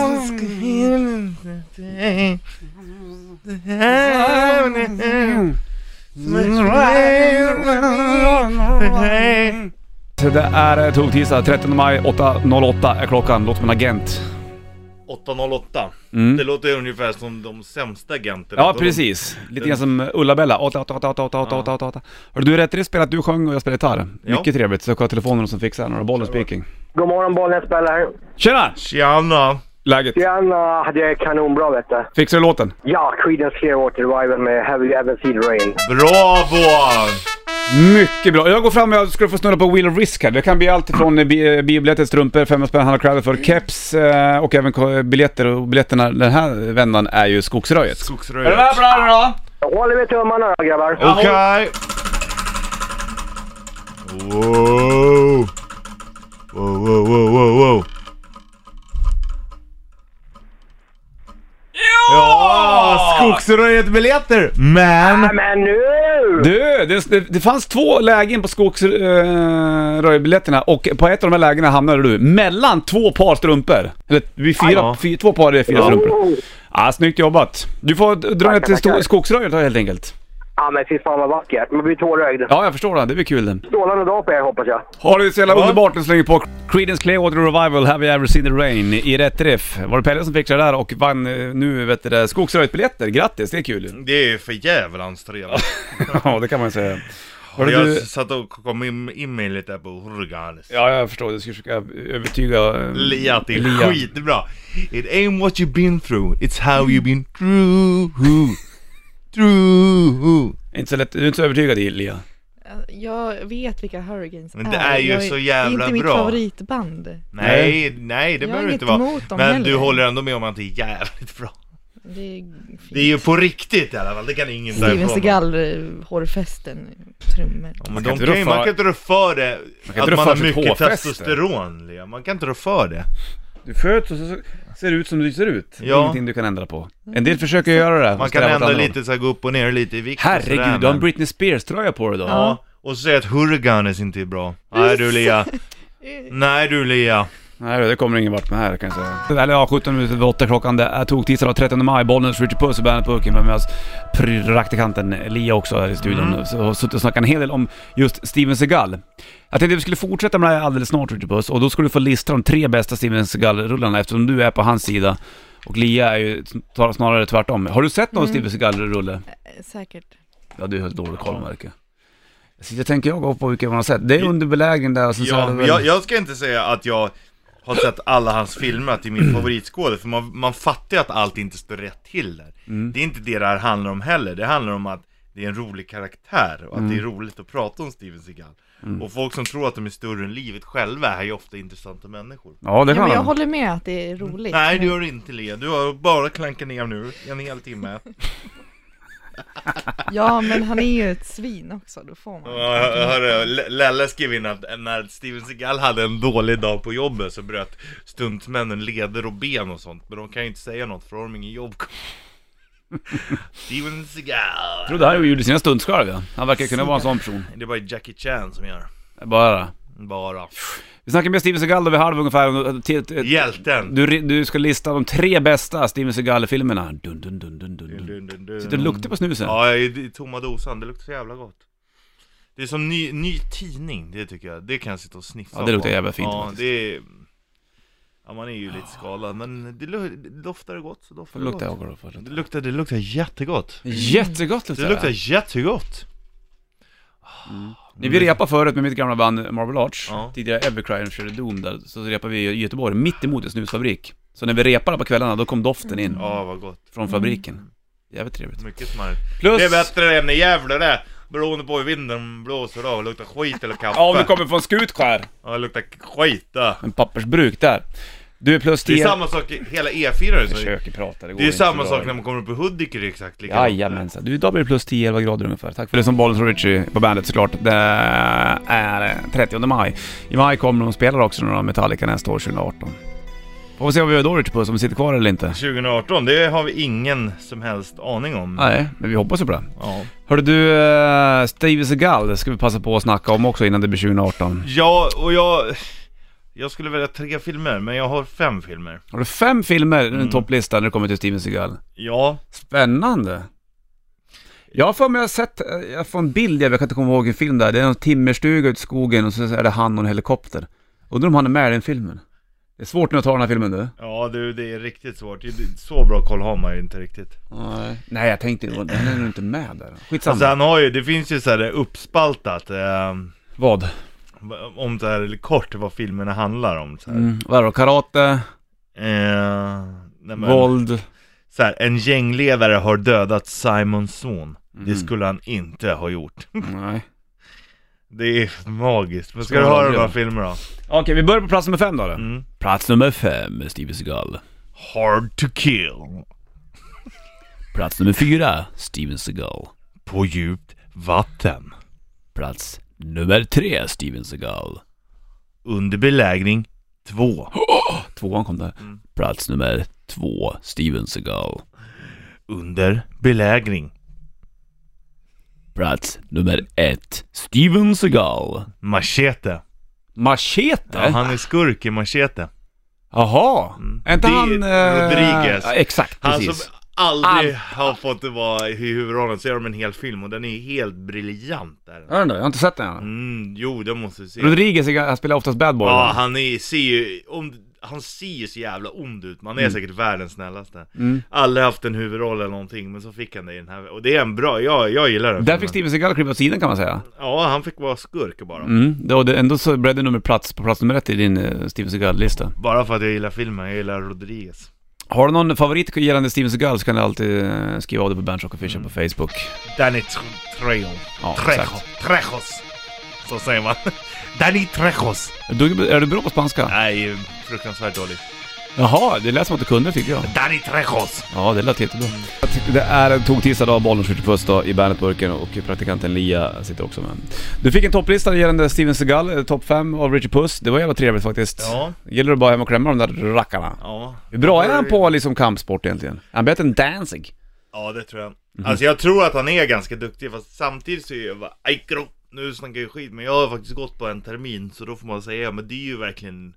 [SPEAKER 2] Mm.
[SPEAKER 1] Det är eh, Tog tisdag 13 maj 8.08 är klockan. Låt min agent.
[SPEAKER 2] 808. Det låter ungefär som de sämsta agenterna.
[SPEAKER 1] Mm. Ja
[SPEAKER 2] De-
[SPEAKER 1] precis, lite grann som Ulla-Bella. Åtta, åtta, åtta, åtta, åtta, åtta, åtta, åtta, åtta. Hörru du, Rätt Riff spelar att du sjöng och jag spelar gitarr.
[SPEAKER 2] Ja.
[SPEAKER 1] Mycket trevligt, så jag har telefonen som fixar den. Bollen speaking.
[SPEAKER 4] God morgon bollen spelar.
[SPEAKER 1] Tjena!
[SPEAKER 2] Tjena!
[SPEAKER 1] Läget?
[SPEAKER 4] Tjena, det är kanonbra vet du.
[SPEAKER 1] Fixar du låten?
[SPEAKER 4] Ja, Creedence Clearwater Revival med Have You Ever Seen Rain.
[SPEAKER 2] Bravo!
[SPEAKER 1] Mycket bra. Jag går fram och jag ska få snurra på Wheel of Risk här. Det kan bli allt ifrån eh, bi- eh, biobiljetter, strumpor, 500 spänn, Hanna Crowder för, keps eh, och även ko- biljetter. Och biljetterna den här vändan är ju Skogsröjet. Är du med
[SPEAKER 2] Skogsröret.
[SPEAKER 1] på det här nu då?
[SPEAKER 4] Jag håller vi tummarna då grabbar.
[SPEAKER 2] Okej! Wow! Wow, wow, wow, wow, wow! Ja! Skogsröjet-biljetter! Men...
[SPEAKER 4] Men nu!
[SPEAKER 1] Du, det, det, det fanns två lägen på skogsröjbiljetterna och på ett av de här lägena hamnade du mellan två par strumpor. Eller det blir fyra,
[SPEAKER 2] Aj då.
[SPEAKER 1] fy, två par det är fyra strumpor.
[SPEAKER 4] Oh.
[SPEAKER 1] Ah, snyggt jobbat. Du får dra ner till sto-
[SPEAKER 4] tackar.
[SPEAKER 1] skogsröjet då, helt enkelt.
[SPEAKER 4] Ja men fy fan vad vackert. Man blir tårögd.
[SPEAKER 1] Ja, jag förstår det. Det blir kul det.
[SPEAKER 4] Strålande dag på er hoppas jag.
[SPEAKER 1] Har du så jävla
[SPEAKER 2] Ja.
[SPEAKER 1] underbart nu slänger på Creedence Clearwater Revival, Have You Ever Seen The Rain i rätt riff. Var det Pelle som fixade det där och vann eh, nu vet du det, skogsröjtbiljetter. Grattis, det är kul ju.
[SPEAKER 2] Det är för jävlans trevligt.
[SPEAKER 1] Ja, det kan man ju säga. Hörru,
[SPEAKER 2] Jag
[SPEAKER 1] du-
[SPEAKER 2] satt och kom in, in mig lite på Hurgalis.
[SPEAKER 1] Ja, jag förstår. Du ska försöka övertyga... eh,
[SPEAKER 2] Lia att det är
[SPEAKER 1] Lia.
[SPEAKER 2] skitbra. It ain't what you've been through, it's how you've been through. Through.
[SPEAKER 1] Inte så lätt, du är inte så övertygad i Lia.
[SPEAKER 3] jag vet vilka Hurricanes
[SPEAKER 2] Men det är ju
[SPEAKER 3] Jag
[SPEAKER 2] så
[SPEAKER 3] Det
[SPEAKER 2] jävla
[SPEAKER 3] är inte
[SPEAKER 2] bra.
[SPEAKER 3] mitt favoritband.
[SPEAKER 2] Nej, nej det
[SPEAKER 3] Jag
[SPEAKER 2] behöver
[SPEAKER 3] är
[SPEAKER 2] det inte
[SPEAKER 3] inte
[SPEAKER 2] vara.
[SPEAKER 3] emot dem
[SPEAKER 2] Men
[SPEAKER 3] heller.
[SPEAKER 2] du håller ändå med om att det är jävligt bra.
[SPEAKER 3] Det är fint.
[SPEAKER 2] Det är ju på riktigt i alla fall, det kan ingen säga
[SPEAKER 3] Steven
[SPEAKER 2] ifrån.
[SPEAKER 3] Seagal, eh, hårfesten, trummor.
[SPEAKER 2] Ja, Men
[SPEAKER 1] kan
[SPEAKER 2] de
[SPEAKER 1] inte
[SPEAKER 2] kan
[SPEAKER 1] rå
[SPEAKER 2] ju,
[SPEAKER 1] för-
[SPEAKER 2] man kan inte rå för det,
[SPEAKER 1] inte rå
[SPEAKER 2] att man
[SPEAKER 1] för
[SPEAKER 2] har
[SPEAKER 1] sitt
[SPEAKER 2] mycket
[SPEAKER 1] hårfäste.
[SPEAKER 2] testosteron Lea. Man kan inte rå för det.
[SPEAKER 1] Du föds och så ser du ut som du ser ut. Det är
[SPEAKER 2] Ja.
[SPEAKER 1] ingenting du kan ändra på. En del försöker göra det.
[SPEAKER 2] Man
[SPEAKER 1] och
[SPEAKER 2] kan
[SPEAKER 1] sträva åt
[SPEAKER 2] ändra
[SPEAKER 1] andra håll.
[SPEAKER 2] lite så här, gå upp och ner lite i vikt och sådär,
[SPEAKER 1] Herregud, du har en
[SPEAKER 2] men-
[SPEAKER 1] Britney Spears-tröja på dig idag.
[SPEAKER 2] Ja, och så säger att Hurganes inte är bra. Nej du Lea.
[SPEAKER 3] Eh,
[SPEAKER 2] Nej du Lea.
[SPEAKER 1] Nej det kommer ingen vart med här kan jag säga. Eller ja, 17 minuter över 8 klockan. Det är tog tisdag den 13 maj. Bollnäs, Richard Puss och Bandet Pucken med oss. Praktikanten Lia också här i studion. Så har suttit och snackat en hel del om just Steven Seagal. Jag tänkte att vi skulle fortsätta med det här alldeles snart Richard Puss. Och då skulle du få lista de tre bästa Steven Seagal-rullarna eftersom du är på hans sida. Och Lia är ju tar snarare tvärtom. Har du sett någon
[SPEAKER 2] Mm.
[SPEAKER 1] Steven Seagal-rulle?
[SPEAKER 3] Eh, Säkert.
[SPEAKER 1] Ja, du höll dålig koll märker jag. Sitter tänker jag på vilka man har sett. Det är under belägen där och sen så är
[SPEAKER 2] Ja,
[SPEAKER 1] det
[SPEAKER 2] men
[SPEAKER 1] väl...
[SPEAKER 2] jag, jag ska inte säga att jag har sett alla hans filmer till min favoritskådel, för man, man fattar ju att allt inte står rätt till där. Det är inte det det här handlar om heller, det handlar om att det är en rolig karaktär och att det är roligt att prata om Steven Seagal. Och folk som tror att de är större än livet själva är ju ofta intressanta människor.
[SPEAKER 1] Ja, det
[SPEAKER 3] Ja,
[SPEAKER 1] kan
[SPEAKER 3] men jag
[SPEAKER 1] han.
[SPEAKER 3] håller med att det är roligt.
[SPEAKER 2] Mm. Nej, det
[SPEAKER 3] men-
[SPEAKER 2] gör du inte Lea, du har bara klankat ner nu en hel timme.
[SPEAKER 3] Ja, men han är ju ett svin också, då får man.
[SPEAKER 2] Ja, hör- Hörru, L- Lelle skrev in att när Steven Seagal hade en dålig dag på jobbet så bröt stuntmännen leder och ben och sånt. Men de kan ju inte säga något för de har ingen jobb. Steven
[SPEAKER 1] Jag tror
[SPEAKER 2] Seagal.
[SPEAKER 1] det här gjorde sina stundskarv ja. Han verkar kunna vara en sån person.
[SPEAKER 2] Det är bara Jackie Chan som gör.
[SPEAKER 1] Bara.
[SPEAKER 2] Bara.
[SPEAKER 1] Vi snackar med Steven Seagal då vid halv ungefär. och- till- till-
[SPEAKER 2] Hjälten.
[SPEAKER 1] Du, ri- du ska lista de tre bästa Steven Seagal-filmerna. Dun, dun, dun, dun, dun, dun. Sitter du och luktar på snusen?
[SPEAKER 2] Ja, i i tomma dosan. Det luktar så jävla gott. Det är som ny, ny tidning, det tycker jag. Det kan jag sitta och sniffa
[SPEAKER 1] Ja, det luktar
[SPEAKER 2] på.
[SPEAKER 1] jävla fint
[SPEAKER 2] Ja,
[SPEAKER 1] faktiskt.
[SPEAKER 2] det är... Ja, man är ju lite skadad, men det lu- doftar det gott så
[SPEAKER 1] Får
[SPEAKER 2] doftar det gott.
[SPEAKER 1] lukta jag då. får jag
[SPEAKER 2] Det
[SPEAKER 1] lukta.
[SPEAKER 2] luktar, det luktar jättegott.
[SPEAKER 1] Jättegott
[SPEAKER 2] Det
[SPEAKER 1] luktar det.
[SPEAKER 2] luktar jättegott.
[SPEAKER 1] När vi repade förut med mitt gamla band Marble Arch,
[SPEAKER 2] Ja.
[SPEAKER 1] tidigare Evercry och körde Doom där, så repade vi i Göteborg, mitt emot en snusfabrik. Så när vi repade på kvällarna, då kom doften in
[SPEAKER 2] Ja, vad gott.
[SPEAKER 1] från fabriken. Jävligt trevligt.
[SPEAKER 2] Mycket smart.
[SPEAKER 1] Plus...
[SPEAKER 2] Det är bättre än i Gävle det. Beroende på hur vinden blåser då. Luktar skit eller kaffe.
[SPEAKER 1] Ja, om du kommer från Skutskär,
[SPEAKER 2] Ja, det luktar skit då.
[SPEAKER 1] en pappersbruk där. Du är plus 10...
[SPEAKER 2] Det är samma sak i hela E4.
[SPEAKER 1] Jag
[SPEAKER 2] Alltså.
[SPEAKER 1] försöker prata, det går
[SPEAKER 2] Det är
[SPEAKER 1] inte
[SPEAKER 2] samma
[SPEAKER 1] så
[SPEAKER 2] sak
[SPEAKER 1] bra.
[SPEAKER 2] när man kommer upp i Hudik, är det exakt likadant.
[SPEAKER 1] Jajamensan. Du, idag blir det plus 10-11 grader ungefär. Tack för det som bollen från Richie på bandet såklart. Det är 30 maj. I maj kommer de och spelar också några Metallica nästa år, 2018. Får vi se vad vi gör då Richie Puss, om vi sitter kvar eller inte.
[SPEAKER 2] 2018, det har vi ingen som helst aning om.
[SPEAKER 1] Nej, men vi hoppas ju på det.
[SPEAKER 2] Ja.
[SPEAKER 1] Hörru du, eh, Steve Seagal det ska vi passa på att snacka om också innan det blir 2018.
[SPEAKER 2] ja, och jag... Jag skulle välja tre filmer, men jag har fem filmer.
[SPEAKER 1] Har du fem filmer i
[SPEAKER 2] Mm.
[SPEAKER 1] din topplista när det kommer till Steven Seagal?
[SPEAKER 2] Ja,
[SPEAKER 1] Spännande! Jag har för mig jag har sett, eh, jag får en bild, jag kan inte komma ihåg en film där. Det är någon timmerstuga ute i skogen och så är det han och en helikopter. Undrar om han är med i den filmen? Det är svårt nu att ta den här filmen du.
[SPEAKER 2] ja du, det är riktigt svårt. Det- Så bra koll har man ju inte riktigt.
[SPEAKER 1] Nej. Nej, jag tänkte, han är nog inte med där. Skitsamma.
[SPEAKER 2] Alltså han har ju, det finns ju så här uppspaltat eh,
[SPEAKER 1] Vad?
[SPEAKER 2] om så här kort vad filmerna handlar om så här.
[SPEAKER 1] Mm. Vad då? Karate,
[SPEAKER 2] Eh, nej, men, Mm.
[SPEAKER 1] våld.
[SPEAKER 2] Så här, en gängledare har dödat Simons son.
[SPEAKER 1] Mm.
[SPEAKER 2] Det skulle han inte ha gjort.
[SPEAKER 1] Nej.
[SPEAKER 2] Det är magiskt. Men ska,
[SPEAKER 1] Ska
[SPEAKER 2] du
[SPEAKER 1] man
[SPEAKER 2] höra
[SPEAKER 1] aldrig
[SPEAKER 2] de här
[SPEAKER 1] göra.
[SPEAKER 2] filmerna då?
[SPEAKER 1] Okej, vi börjar på plats nummer fem då. då.
[SPEAKER 2] Mm.
[SPEAKER 1] Plats nummer fem, Steven Seagal.
[SPEAKER 2] Hard to kill.
[SPEAKER 1] Plats nummer fyra, Steven Seagal.
[SPEAKER 2] På djupt vatten.
[SPEAKER 1] Plats nummer tre, Steven Seagal.
[SPEAKER 2] Under belägring 2.
[SPEAKER 1] Tvåan kom där.
[SPEAKER 2] Mm.
[SPEAKER 1] Plats nummer två, Steven Seagal.
[SPEAKER 2] Under belägring.
[SPEAKER 1] Plats nummer ett, Steven Seagal.
[SPEAKER 2] Machete.
[SPEAKER 1] Machete?
[SPEAKER 2] Ja, han är skurk i Machete.
[SPEAKER 1] Jaha. Är inte
[SPEAKER 2] Det är
[SPEAKER 1] han... eh,
[SPEAKER 2] Rodriguez.
[SPEAKER 1] ja, exakt,
[SPEAKER 2] Han
[SPEAKER 1] precis.
[SPEAKER 2] som aldrig har fått vara i huvudrollen, så gör de en hel film och den är helt briljant där.
[SPEAKER 1] Är han det? Jag har inte sett den än.
[SPEAKER 2] Mm, jo det måste du se.
[SPEAKER 1] Rodriguez är- han spelar oftast bad boy.
[SPEAKER 2] Ja,
[SPEAKER 1] va?
[SPEAKER 2] han är, ser ju, om, han ser ju så jävla ond ut, man är säkert världens snällaste.
[SPEAKER 1] Mm.
[SPEAKER 2] Aldrig haft en huvudroll eller någonting, men så fick han det i den här, och det är en bra, jag, jag gillar den
[SPEAKER 1] Där
[SPEAKER 2] filmen.
[SPEAKER 1] fick Steven Seagal klippa åt sidan kan man säga.
[SPEAKER 2] Ja, han fick vara skurk bara.
[SPEAKER 1] Mm. Det- Och det, ändå så blev det nummer plats på plats nummer ett i din eh, Steven Seagal-lista.
[SPEAKER 2] Bara för att jag gillar filmen, jag gillar Rodriguez.
[SPEAKER 1] Har du någon favorit gällande Steven Seagal så kan du alltid eh, skriva av det på Bandrock Official på Facebook.
[SPEAKER 2] Danny Tr- Trejo.
[SPEAKER 1] Ja,
[SPEAKER 2] Trejo.
[SPEAKER 1] exakt.
[SPEAKER 2] Trejos. Så säger man. Danny Trejos.
[SPEAKER 1] Är du, är du bra på spanska?
[SPEAKER 2] Nej, fruktansvärt dålig.
[SPEAKER 1] Jaha, det lät som att du kunde tycker jag.
[SPEAKER 2] Danny Trejos.
[SPEAKER 1] Ja, det lät jättebra. Mm. Jag tycker det är en toktisdag dag, bollen skjuter puss dag i Bandetburken och praktikanten Lia sitter också med. Du fick en topplista gällande Steven Seagal, eh, topp 5 av Richard Puss. Det var jävla trevligt faktiskt.
[SPEAKER 2] Ja.
[SPEAKER 1] Gäller det bara hem och klämma de där rackarna.
[SPEAKER 2] Ja.
[SPEAKER 1] Hur bra är han på liksom kampsport egentligen? Är han bättre än Danzig?
[SPEAKER 2] Ja, det tror jag. Alltså jag tror att han är ganska duktig, fast samtidigt så är jag bara, "Aj, kro." nu snackar jag skit, men jag har faktiskt gått på en termin, så då får man säga, men det är ju verkligen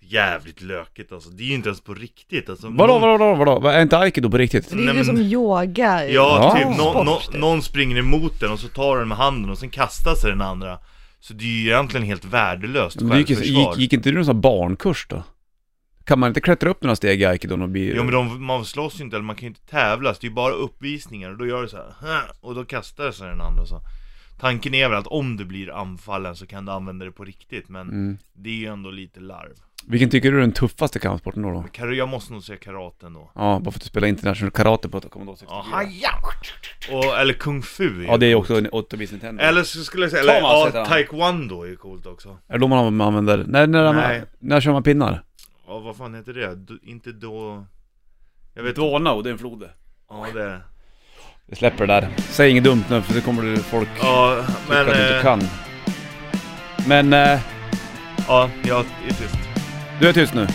[SPEAKER 2] jävligt löket alltså. Det är ju inte ens på riktigt alltså.
[SPEAKER 1] Vadå,
[SPEAKER 2] Någon-
[SPEAKER 1] vadå, vadå, vadå? Vad- Är inte aikido på riktigt?
[SPEAKER 3] Det är ju
[SPEAKER 2] Nej,
[SPEAKER 3] det
[SPEAKER 2] men-
[SPEAKER 3] som yoga.
[SPEAKER 2] Ja,
[SPEAKER 1] Ja.
[SPEAKER 2] typ nå- nå-
[SPEAKER 3] Sport.
[SPEAKER 2] någon springer emot den och så tar den med handen och sen kastar sig den andra. Så det är ju egentligen helt värdelöst
[SPEAKER 1] Men det gick,
[SPEAKER 2] självförsvar.
[SPEAKER 1] gick, gick inte du någon sån här barnkurs då? Kan man inte klättra upp några steg i aikidon och bli...
[SPEAKER 2] Jo men de, man slåss ju inte, eller man kan ju inte tävlas, det är ju bara uppvisningar och då gör du så här, "Hä", och då kastar sig den andra så Tanken är väl att om du blir anfallen så kan du använda det på riktigt men
[SPEAKER 1] Mm.
[SPEAKER 2] det är ju ändå lite larv
[SPEAKER 1] Vilken tycker du är den tuffaste kampsporten då? då?
[SPEAKER 2] Kar- Jag måste nog säga karaten då
[SPEAKER 1] Ja, bara för att du spelar international karate på Commodore 64.
[SPEAKER 2] Aha, ja. och, Eller kung fu
[SPEAKER 1] Ja, det är också en 8-bits Nintendo.
[SPEAKER 2] Eller så skulle jag säga, eller,
[SPEAKER 1] Thomas heter
[SPEAKER 2] ja,
[SPEAKER 1] han.
[SPEAKER 2] taekwondo är ju coolt också
[SPEAKER 1] Är det då man använder... När, när,
[SPEAKER 2] Nej.
[SPEAKER 1] när, när kör man pinnar?
[SPEAKER 2] Ja vad fan heter det? Du, inte då... Jag vet
[SPEAKER 1] Dåna och det är en flod.
[SPEAKER 2] Ja det är det
[SPEAKER 1] Vi släpper det där. Säg inget dumt nu för det kommer det folk
[SPEAKER 2] Ja men...
[SPEAKER 1] tycka att du inte
[SPEAKER 2] eh,
[SPEAKER 1] kan. Men... Eh,
[SPEAKER 2] Ja, jag är tyst
[SPEAKER 1] Du är tyst nu.
[SPEAKER 2] Mm.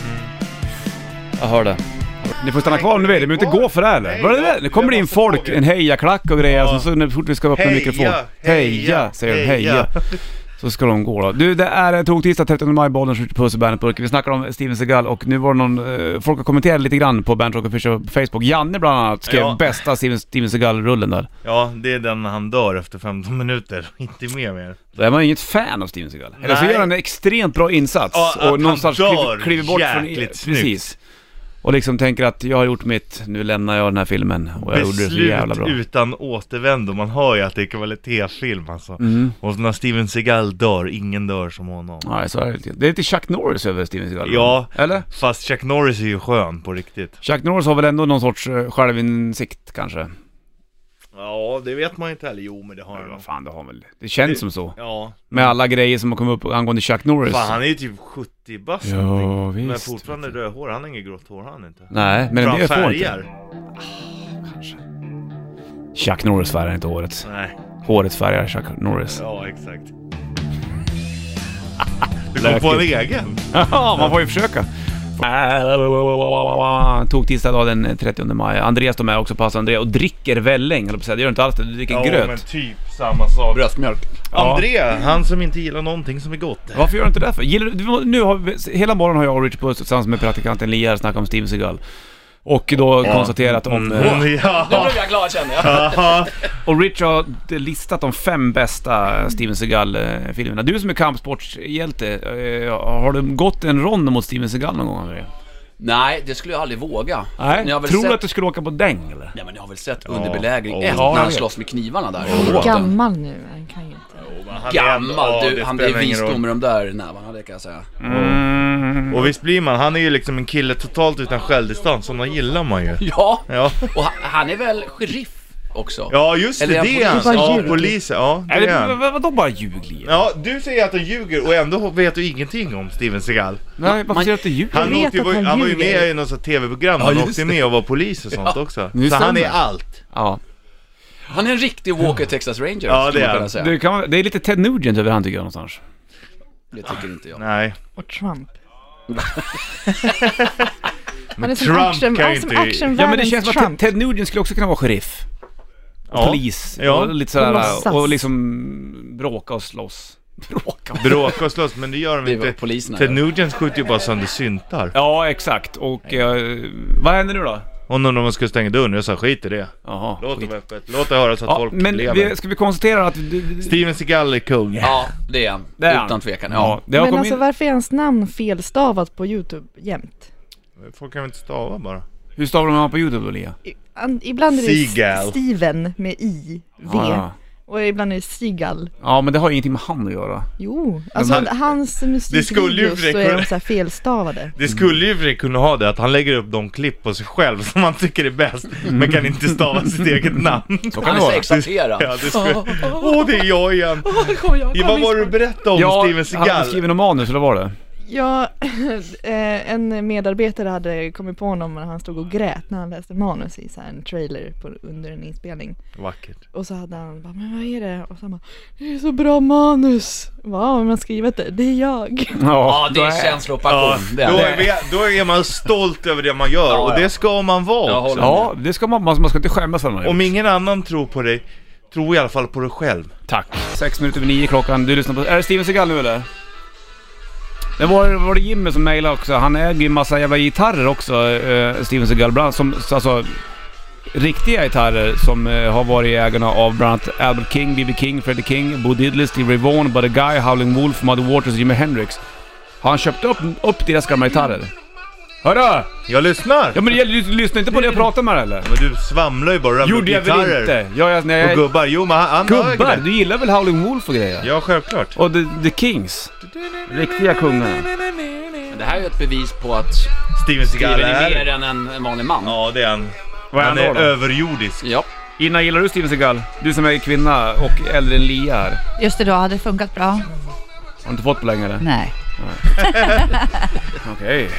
[SPEAKER 1] Jag hör det. Ni får stanna kvar om ni vill, ni behöver inte gå för det heller.
[SPEAKER 2] Nej,
[SPEAKER 1] Vad är det
[SPEAKER 2] jag-
[SPEAKER 1] där? Nu kommer det in
[SPEAKER 2] jag måste
[SPEAKER 1] folk,
[SPEAKER 2] fråga.
[SPEAKER 1] en hejaklack och grejer,
[SPEAKER 2] Ja.
[SPEAKER 1] och så när- så fort vi ska öppna mikrofon. Heja! Säger de, heja. Så ska de gå då. Du, det är Toktisdag 13 maj, bollen skjuter puss i Bandetburken. Vi snackar om Steven Seagal och nu var det någon, eh, folk har kommenterat lite grann på Bandrock Official på Facebook. Janne bland annat skrev
[SPEAKER 2] Ja.
[SPEAKER 1] bästa Steven, Steven Seagal-rullen där.
[SPEAKER 2] Ja, det är den han dör efter 15 minuter, inte mer mer
[SPEAKER 1] Då är man ju inget fan av Steven Seagal. Eller så
[SPEAKER 2] Nej.
[SPEAKER 1] gör han en extremt bra insats
[SPEAKER 2] Ja, att
[SPEAKER 1] och
[SPEAKER 2] han
[SPEAKER 1] någonstans
[SPEAKER 2] dör
[SPEAKER 1] kliver, kliver bort från...
[SPEAKER 2] jäkligt snyggt.
[SPEAKER 1] Precis. Och liksom tänker att jag har gjort mitt, nu lämnar jag den här filmen. Och jag gjorde det så jävla
[SPEAKER 2] Beslut
[SPEAKER 1] bra.
[SPEAKER 2] utan återvändo, man hör ju att det är kvalitetsfilm alltså
[SPEAKER 1] Mm.
[SPEAKER 2] Och när Steven Seagal dör, ingen dör som honom
[SPEAKER 1] Nej, så är det lite. Det är lite Chuck Norris över Steven Seagal.
[SPEAKER 2] Ja.
[SPEAKER 1] Eller?
[SPEAKER 2] Fast Chuck Norris är ju skön på riktigt
[SPEAKER 1] Chuck Norris har väl ändå någon sorts eh, självinsikt kanske?
[SPEAKER 2] Ja, det vet man inte heller, jo men det har
[SPEAKER 1] Men
[SPEAKER 2] han
[SPEAKER 1] vad fan, det har väl Det känns som så.
[SPEAKER 2] Ja,
[SPEAKER 1] Med alla grejer som har kommit upp angående Chuck Norris.
[SPEAKER 2] fan han är ju typ 70 bast
[SPEAKER 1] Ja, visst.
[SPEAKER 2] Men fortfarande rödhår, han har inget grått hår han inte
[SPEAKER 1] Nej, men
[SPEAKER 2] Bra
[SPEAKER 1] det får inte.
[SPEAKER 2] färger?
[SPEAKER 1] Chuck Norris färgar inte håret.
[SPEAKER 2] Nej,
[SPEAKER 1] Håret färgar Chuck Norris.
[SPEAKER 2] ja exakt Du kom på en egen?
[SPEAKER 1] Ja, man får ju försöka. Tog tisdag dag den 30 maj. Andreas de är också på Andreas och dricker välling. höll jag på att säga. Det gör du inte alls det, du dricker gröt.
[SPEAKER 2] men typ samma sak
[SPEAKER 1] Bröstmjölk. Ja.
[SPEAKER 2] André, han som inte gillar någonting som är gott
[SPEAKER 1] Varför gör du inte det för? Gillar du, nu har vi, hela morgonen har jag och Richard Puss tillsammans med praktikanten Lia snackat om Steven Seagal. Och då konstaterat om...
[SPEAKER 2] Mm,
[SPEAKER 1] eh,
[SPEAKER 2] ja.
[SPEAKER 5] jag glad känner jag.
[SPEAKER 2] Aha.
[SPEAKER 1] Och Richard har listat de fem bästa Steven Seagal-filmerna. Du som är kampsportshjälte, eh, har du gått en rond mot Steven Seagal någon gång? André?
[SPEAKER 5] Nej, det skulle jag aldrig våga.
[SPEAKER 1] Nej,
[SPEAKER 5] Men jag har väl
[SPEAKER 1] tror du
[SPEAKER 5] sett-
[SPEAKER 1] att du skulle åka på däng eller?
[SPEAKER 5] Nej men jag har väl sett underbelägring
[SPEAKER 2] Ja.
[SPEAKER 5] 1
[SPEAKER 1] Ja,
[SPEAKER 5] när
[SPEAKER 1] jag
[SPEAKER 5] han
[SPEAKER 1] vet.
[SPEAKER 5] slåss med knivarna där.
[SPEAKER 3] Han är
[SPEAKER 5] Åt den.
[SPEAKER 3] gammal nu, han kan ju inte.
[SPEAKER 2] Han är ändå- ja,
[SPEAKER 5] Gammal! Du,
[SPEAKER 2] det
[SPEAKER 5] han
[SPEAKER 2] spelar
[SPEAKER 5] blir
[SPEAKER 2] ingen
[SPEAKER 5] vis
[SPEAKER 2] roll.
[SPEAKER 5] nog med de där nävarna, det kan jag säga.
[SPEAKER 2] Och visst blir man, han är ju liksom en kille totalt utan självdistans, sådana gillar man ju
[SPEAKER 5] Ja!
[SPEAKER 2] Ja,
[SPEAKER 5] Och han, han är väl sheriff också?
[SPEAKER 2] ja just det,
[SPEAKER 5] Eller
[SPEAKER 2] det är
[SPEAKER 5] en
[SPEAKER 2] han!
[SPEAKER 5] polis.
[SPEAKER 3] Bara
[SPEAKER 2] Ja,
[SPEAKER 3] ljuger.
[SPEAKER 2] polis, ja det är
[SPEAKER 1] Eller
[SPEAKER 2] han
[SPEAKER 1] vad- vadå bara ljug Lia?
[SPEAKER 2] Ja, du säger att han ljuger och ändå vet du ingenting om Steven Seagal
[SPEAKER 1] Nej, varför
[SPEAKER 5] man-
[SPEAKER 1] säger du att det är djur?
[SPEAKER 2] Han,
[SPEAKER 3] vet
[SPEAKER 2] åkte ju,
[SPEAKER 3] att
[SPEAKER 2] var, ju-
[SPEAKER 3] han
[SPEAKER 2] han var ju
[SPEAKER 3] ljuger.
[SPEAKER 2] med i något sånt tv-program, han
[SPEAKER 5] just
[SPEAKER 2] åkte med och var polis och sånt också
[SPEAKER 1] Nu
[SPEAKER 2] Så han är
[SPEAKER 1] stämmer.
[SPEAKER 2] allt!
[SPEAKER 1] Ja.
[SPEAKER 5] Han är en riktig Walker Texas Ranger,
[SPEAKER 2] Ja, det
[SPEAKER 5] skulle
[SPEAKER 2] är
[SPEAKER 5] man kunna
[SPEAKER 2] han.
[SPEAKER 5] säga.
[SPEAKER 1] Det, kan, vara- det är lite Ted Nugent över han tycker jag någonstans.
[SPEAKER 5] Det tycker inte jag.
[SPEAKER 2] Nej,
[SPEAKER 3] Och Trump. han
[SPEAKER 2] Men
[SPEAKER 3] är som
[SPEAKER 2] Trump
[SPEAKER 3] action,
[SPEAKER 2] kan
[SPEAKER 3] han är
[SPEAKER 2] ju
[SPEAKER 3] som
[SPEAKER 2] inte-
[SPEAKER 3] actionvärldens
[SPEAKER 1] Ja men det känns som att Ted,
[SPEAKER 3] Trump.
[SPEAKER 1] Ted Nugent skulle också kunna vara sheriff. Och
[SPEAKER 2] Ja.
[SPEAKER 1] polis.
[SPEAKER 2] Ja.
[SPEAKER 1] Och lite
[SPEAKER 3] Och
[SPEAKER 1] sådär,
[SPEAKER 3] låtsas.
[SPEAKER 1] och, liksom bråka och slåss. Bråka och
[SPEAKER 2] bråka och slåss men det gör de
[SPEAKER 5] Det var
[SPEAKER 2] inte
[SPEAKER 5] poliserna.
[SPEAKER 2] Ted Nugent skjuter ju bara sönder syntar
[SPEAKER 1] Ja, exakt. Och eh, vad händer nu då?
[SPEAKER 2] Hon undrade om man skulle stänga dörren, jag sa skit i det
[SPEAKER 1] Jaha.
[SPEAKER 2] Låt
[SPEAKER 1] skit.
[SPEAKER 2] dem öppet, låt det höras att
[SPEAKER 1] Ja,
[SPEAKER 2] folk
[SPEAKER 1] men
[SPEAKER 2] lever
[SPEAKER 1] vi, ska vi konstatera att... du- du-
[SPEAKER 2] Steven Seagal är kung
[SPEAKER 5] Ja, det är han.
[SPEAKER 1] Det är han.
[SPEAKER 5] Utan tvekan.
[SPEAKER 1] Ja,
[SPEAKER 5] Ja.
[SPEAKER 1] det har
[SPEAKER 3] Men
[SPEAKER 1] kommit
[SPEAKER 3] alltså
[SPEAKER 1] in...
[SPEAKER 3] varför är hans namn felstavat på YouTube jämt?
[SPEAKER 2] Folk kan väl inte stava bara?
[SPEAKER 1] Hur stavar man på YouTube då, Lia?
[SPEAKER 3] I- an- Ibland är det
[SPEAKER 2] Seagal.
[SPEAKER 3] S- Steven med i, v.
[SPEAKER 1] Ja, ja.
[SPEAKER 3] Och ibland är det Seagal.
[SPEAKER 1] ja, men det har ju ingenting med han att göra.
[SPEAKER 3] Jo, alltså
[SPEAKER 2] Men han-
[SPEAKER 3] hans
[SPEAKER 2] skulle ju
[SPEAKER 3] musikvideos så är
[SPEAKER 2] kunna-
[SPEAKER 3] de så här felstavade.
[SPEAKER 2] Det skulle ju för sig kunna ha det, att han lägger upp de klipp på sig själv som han tycker är bäst, men kan inte stava sitt eget namn.
[SPEAKER 1] Så kan
[SPEAKER 5] Han
[SPEAKER 1] det
[SPEAKER 5] är så
[SPEAKER 1] vara.
[SPEAKER 5] exalterad.
[SPEAKER 2] Ja, det skulle... Åh, det är jag igen! Ja, vad var det du berättade om
[SPEAKER 1] Ja,
[SPEAKER 2] Steven
[SPEAKER 1] han hade
[SPEAKER 2] Seagal?
[SPEAKER 1] skrivit någon manus, eller vad var det?
[SPEAKER 3] Ja, eh, en medarbetare hade kommit på honom när han stod och grät när han läste manus i så här en trailer på, under en inspelning.
[SPEAKER 2] Vackert.
[SPEAKER 3] Och så hade han bara, men vad är det? Och så han bara, det är så bra manus! Vad har man skrivit det? Det är jag!
[SPEAKER 5] Ja, det
[SPEAKER 1] då
[SPEAKER 5] är
[SPEAKER 2] Ja,
[SPEAKER 5] känslopassion.
[SPEAKER 2] då
[SPEAKER 5] Det är det.
[SPEAKER 2] är, vi- då är man stolt över det man gör,
[SPEAKER 5] Ja,
[SPEAKER 2] och
[SPEAKER 5] ja.
[SPEAKER 2] det ska man vara
[SPEAKER 5] Jag
[SPEAKER 2] också.
[SPEAKER 5] håller
[SPEAKER 1] Ja, det ska man, man man ska inte skämmas för det.
[SPEAKER 2] Om ingen annan tror på dig, tro i alla fall på dig själv.
[SPEAKER 1] Tack. Sex minuter över nio klockan. Du lyssnar på... Är det Steven Seagal nu eller? Det var, var det Jimmy som mejlade också. Han äger ju en massa jävla gitarrer också, eh, Steven Seagal. Bland annat som, alltså, riktiga gitarrer som eh, har varit i ägarna av bland annat Albert King, B.B. King, Freddie King, Bo Diddley, Steve Ray Vaughan, Buddy Guy, Howling Wolf, Muddy Waters och Jimi Hendrix. Har han köpt upp, upp deras gamla gitarrer? Hörru!
[SPEAKER 2] Jag lyssnar!
[SPEAKER 1] Ja men det gäller ju- lyssna inte på det jag pratar med eller?
[SPEAKER 2] Men du svamlar ju bara
[SPEAKER 1] Gjorde jag väl inte? Ja, jag, nej,
[SPEAKER 2] Och
[SPEAKER 1] jag,
[SPEAKER 2] gubbar, jo men han, han
[SPEAKER 1] gubbar,
[SPEAKER 2] högre.
[SPEAKER 1] du gillar väl Howling Wolf och grejer?
[SPEAKER 2] Ja, självklart.
[SPEAKER 1] Och the, the Kings. Riktiga kungarna.
[SPEAKER 5] Men det här är ju ett bevis på att
[SPEAKER 2] Steven Seagal
[SPEAKER 5] Steven är mer
[SPEAKER 2] är...
[SPEAKER 5] än en, en vanlig man.
[SPEAKER 2] Ja, det är han.
[SPEAKER 1] Vad är
[SPEAKER 2] Han
[SPEAKER 1] han då
[SPEAKER 2] är
[SPEAKER 1] då?
[SPEAKER 2] överjordisk.
[SPEAKER 5] Ja.
[SPEAKER 1] Innan gillar du Steven Seagal? Du som är kvinna och äldre än Lia här.
[SPEAKER 6] Just det, då hade det funkat bra.
[SPEAKER 1] Har du inte fått på länge eller?
[SPEAKER 6] Nej.
[SPEAKER 1] Okej.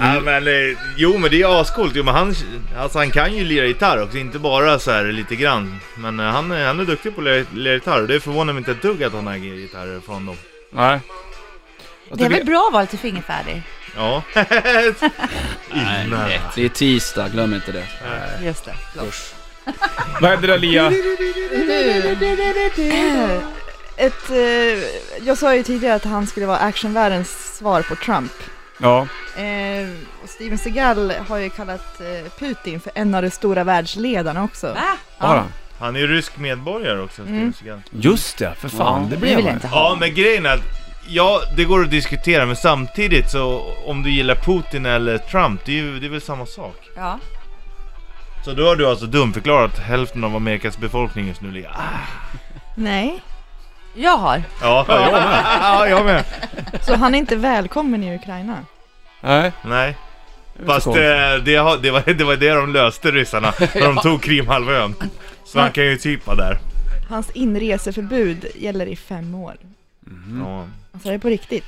[SPEAKER 5] Mm.
[SPEAKER 2] Ja, men, eh, jo men det är ascoolt. Jo, men han, alltså, han kan ju lira gitarr också, inte bara så här lite grann. Men eh, han, är- han är duktig på att lira, lira gitarr och det förvånar mig inte ett dugg att han äger gitarrer från dem.
[SPEAKER 1] Nej. Jag
[SPEAKER 6] Det är
[SPEAKER 1] tycker-
[SPEAKER 6] väl bra att vara lite fingerfärdig.
[SPEAKER 2] Ja.
[SPEAKER 5] Nej,
[SPEAKER 2] Innan.
[SPEAKER 5] nej. Det är tisdag, glöm inte det.
[SPEAKER 6] Just det.
[SPEAKER 1] Vad hände där Lia?
[SPEAKER 3] Ett, eh, jag sa ju tidigare att han skulle vara actionvärldens svar på Trump.
[SPEAKER 1] Ja.
[SPEAKER 3] Eh, och Steven Seagal har ju kallat eh, Putin för en av de stora världsledarna också.
[SPEAKER 6] Va?
[SPEAKER 1] Har han?
[SPEAKER 2] Han är ju rysk medborgare också, Steven Seagal.
[SPEAKER 1] Just det, för fan.
[SPEAKER 5] Ja.
[SPEAKER 1] Det
[SPEAKER 6] Det
[SPEAKER 1] blev
[SPEAKER 6] vill
[SPEAKER 1] han.
[SPEAKER 6] jag inte ha.
[SPEAKER 2] Ja men grejen är att, ja det går att diskutera men samtidigt så om du gillar Putin eller Trump, det är, ju, det är väl samma sak.
[SPEAKER 6] Ja.
[SPEAKER 2] Så då har du alltså dumförklarat hälften av Amerikas befolkning just nu Lia. Ah.
[SPEAKER 3] Nej.
[SPEAKER 6] Jag har.
[SPEAKER 2] Ja, jag med. Ja, jag med.
[SPEAKER 3] Så han är inte välkommen i Ukraina.
[SPEAKER 1] Nej.
[SPEAKER 2] Nej.
[SPEAKER 1] det var
[SPEAKER 2] Fast
[SPEAKER 1] så
[SPEAKER 2] eh,
[SPEAKER 1] konstigt.
[SPEAKER 2] det, har- det, var, det var det de löste ryssarna när de tog Krimhalvön. Så han kan ju typ vara där.
[SPEAKER 3] Hans inreseförbud gäller i fem år.
[SPEAKER 2] Ja.
[SPEAKER 3] Alltså det är på riktigt.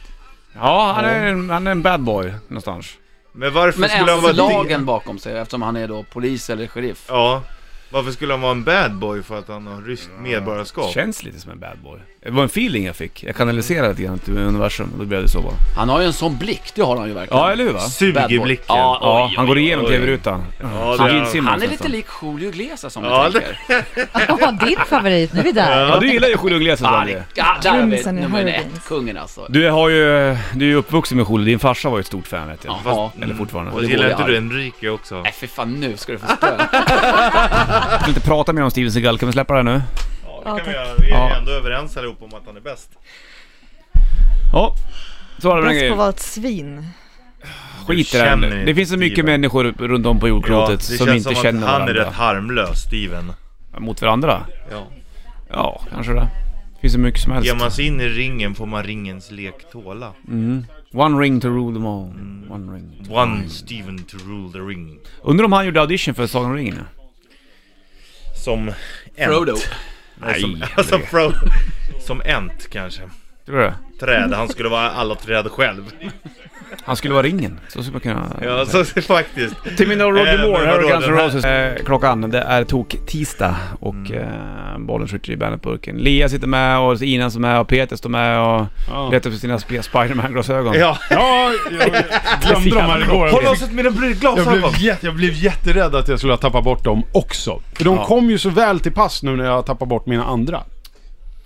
[SPEAKER 1] Ja, han är, en, han är en bad boy någonstans.
[SPEAKER 2] Men varför
[SPEAKER 5] Men
[SPEAKER 2] skulle han
[SPEAKER 5] ens
[SPEAKER 2] vara
[SPEAKER 5] lagen bakom sig eftersom han är då polis eller sheriff.
[SPEAKER 2] Ja. Varför skulle han vara en bad boy för att han har ryskt medborgarskap?
[SPEAKER 1] Känns lite som en bad boy. Det var en feeling jag fick. Jag kanaliserade lite grann till universum och då blev det så bara.
[SPEAKER 5] Han har ju en sån blick, det har han ju verkligen.
[SPEAKER 1] Ja, eller hur va?
[SPEAKER 2] Suger
[SPEAKER 5] Bad boy.
[SPEAKER 2] blicken.
[SPEAKER 5] Ja,
[SPEAKER 1] Ja,
[SPEAKER 5] oj,
[SPEAKER 1] han
[SPEAKER 5] oj,
[SPEAKER 1] går
[SPEAKER 5] oj,
[SPEAKER 1] igenom
[SPEAKER 2] oj.
[SPEAKER 1] tv-rutan.
[SPEAKER 2] Ja,
[SPEAKER 1] Som
[SPEAKER 2] det-
[SPEAKER 1] Gene Simmons
[SPEAKER 5] Han är lite
[SPEAKER 1] nästan.
[SPEAKER 5] lik Julio Iglesias som
[SPEAKER 2] Ja,
[SPEAKER 5] jag tänker.
[SPEAKER 6] Åh, din favorit. Nu är vi där.
[SPEAKER 1] Ja, du gillar ju Julio Iglesias
[SPEAKER 5] Ah,
[SPEAKER 1] Daniel.
[SPEAKER 5] ja, där har vi
[SPEAKER 3] Jumsen i
[SPEAKER 5] nummer
[SPEAKER 3] Hurricanes.
[SPEAKER 5] ett, kungen alltså.
[SPEAKER 1] Du har ju, du är ju uppvuxen med Julio, din farsa var ju ett stort fan vet jag.
[SPEAKER 5] Jaha.
[SPEAKER 1] Eller fortfarande.
[SPEAKER 2] Mm.
[SPEAKER 1] Jag
[SPEAKER 2] Och
[SPEAKER 5] det
[SPEAKER 2] gillar inte
[SPEAKER 5] borde jag.
[SPEAKER 2] du Enrique också?
[SPEAKER 7] Äh.
[SPEAKER 5] Nej för fan nu ska du få spö.
[SPEAKER 1] vill inte prata mer om Steven Seagal, kan vi släppa det här nu?
[SPEAKER 2] Ja, det kan vi göra. Vi är
[SPEAKER 1] Ja.
[SPEAKER 2] ju ändå överens allihop om att han är bäst.
[SPEAKER 1] Ja, så var det med den
[SPEAKER 3] Bäst på att
[SPEAKER 1] grejen.
[SPEAKER 3] vara ett svin.
[SPEAKER 1] Skit i det här
[SPEAKER 2] Känner
[SPEAKER 1] nu.
[SPEAKER 2] ni
[SPEAKER 1] Det finns så mycket
[SPEAKER 2] Steven?
[SPEAKER 1] människor runt om på jordklotet
[SPEAKER 2] det
[SPEAKER 1] som
[SPEAKER 2] känns
[SPEAKER 1] inte
[SPEAKER 2] som
[SPEAKER 1] känner
[SPEAKER 2] att han
[SPEAKER 1] varandra.
[SPEAKER 2] är rätt harmlös, Steven.
[SPEAKER 1] Mot varandra?
[SPEAKER 2] Ja.
[SPEAKER 1] Ja, kanske det. Finns så mycket som helst.
[SPEAKER 2] Ger man sig in i ringen får man ringens lek tåla.
[SPEAKER 1] One ring to rule them all.
[SPEAKER 2] Mm.
[SPEAKER 1] One ring. to-
[SPEAKER 2] One Steven to rule the ring.
[SPEAKER 1] Undrar om han gjorde audition för Sagan om ringen?
[SPEAKER 2] Som Ent.
[SPEAKER 5] Frodo.
[SPEAKER 2] Nej, Alltså- som,
[SPEAKER 1] Nej,
[SPEAKER 2] som Frodo. Som Ent kanske.
[SPEAKER 1] Tror du det?
[SPEAKER 2] Träd, han skulle vara alla träd själv.
[SPEAKER 1] Han skulle vara ringen. Så skulle man kunna...
[SPEAKER 2] Ja, så faktiskt.
[SPEAKER 1] Till mina Roger
[SPEAKER 2] Eh, men
[SPEAKER 1] Moore, här
[SPEAKER 2] vadå,
[SPEAKER 1] har Guns N'
[SPEAKER 2] den här- Mm.
[SPEAKER 1] Roses. Eh, klockan, det är tok-tisdag och eh, bollen skjuter i bandetburken. Lea sitter med och Ina som är med och Peter står med och letar efter sina sp- Spiderman-glasögon.
[SPEAKER 2] Ja,
[SPEAKER 7] Ja, jag glömde dem här igår.
[SPEAKER 2] håll
[SPEAKER 7] Jag
[SPEAKER 2] oss åt mina bry-
[SPEAKER 7] blev, jag,
[SPEAKER 2] glasögon!
[SPEAKER 7] blev jätte, jag blev jätterädd att jag skulle ha tappat bort dem också. För de kom ju så väl till pass nu när jag tappade bort mina andra.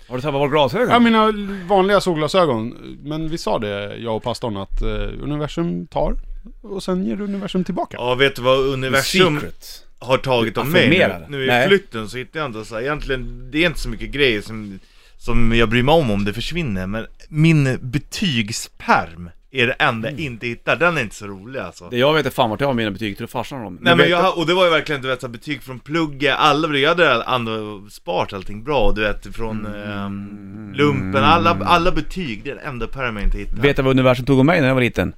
[SPEAKER 1] Har du tappat bort glasögon?
[SPEAKER 7] Ja, mina vanliga solglasögon. Men vi sa det, jag och pastorn, att eh, universum tar och sen ger universum tillbaka.
[SPEAKER 2] Ja, vet du vad universum
[SPEAKER 1] Secret.
[SPEAKER 2] har tagit om
[SPEAKER 1] Jag
[SPEAKER 2] mig
[SPEAKER 1] förmerar
[SPEAKER 2] nu,
[SPEAKER 1] det.
[SPEAKER 2] nu i
[SPEAKER 1] Nej.
[SPEAKER 2] flytten så hittar jag inte så här, egentligen, det är inte så mycket grejer som, som jag bryr mig om om det försvinner Men min betygsperm är det enda jag inte hittar, den är inte så rolig alltså
[SPEAKER 1] Mm. Det jag vet är fan vart jag har mina betyg. Tror du farsan har dem?
[SPEAKER 2] Nej
[SPEAKER 1] vet-
[SPEAKER 2] men jag, och det var ju verkligen du vet så här, betyg från plugget, alla, jag hade ändå sparat allting bra du vet från
[SPEAKER 1] Mm.
[SPEAKER 2] ehm, lumpen, alla, alla betyg, det är den enda pärmen jag inte hittar
[SPEAKER 1] Vet du vad universum tog om mig när jag var liten?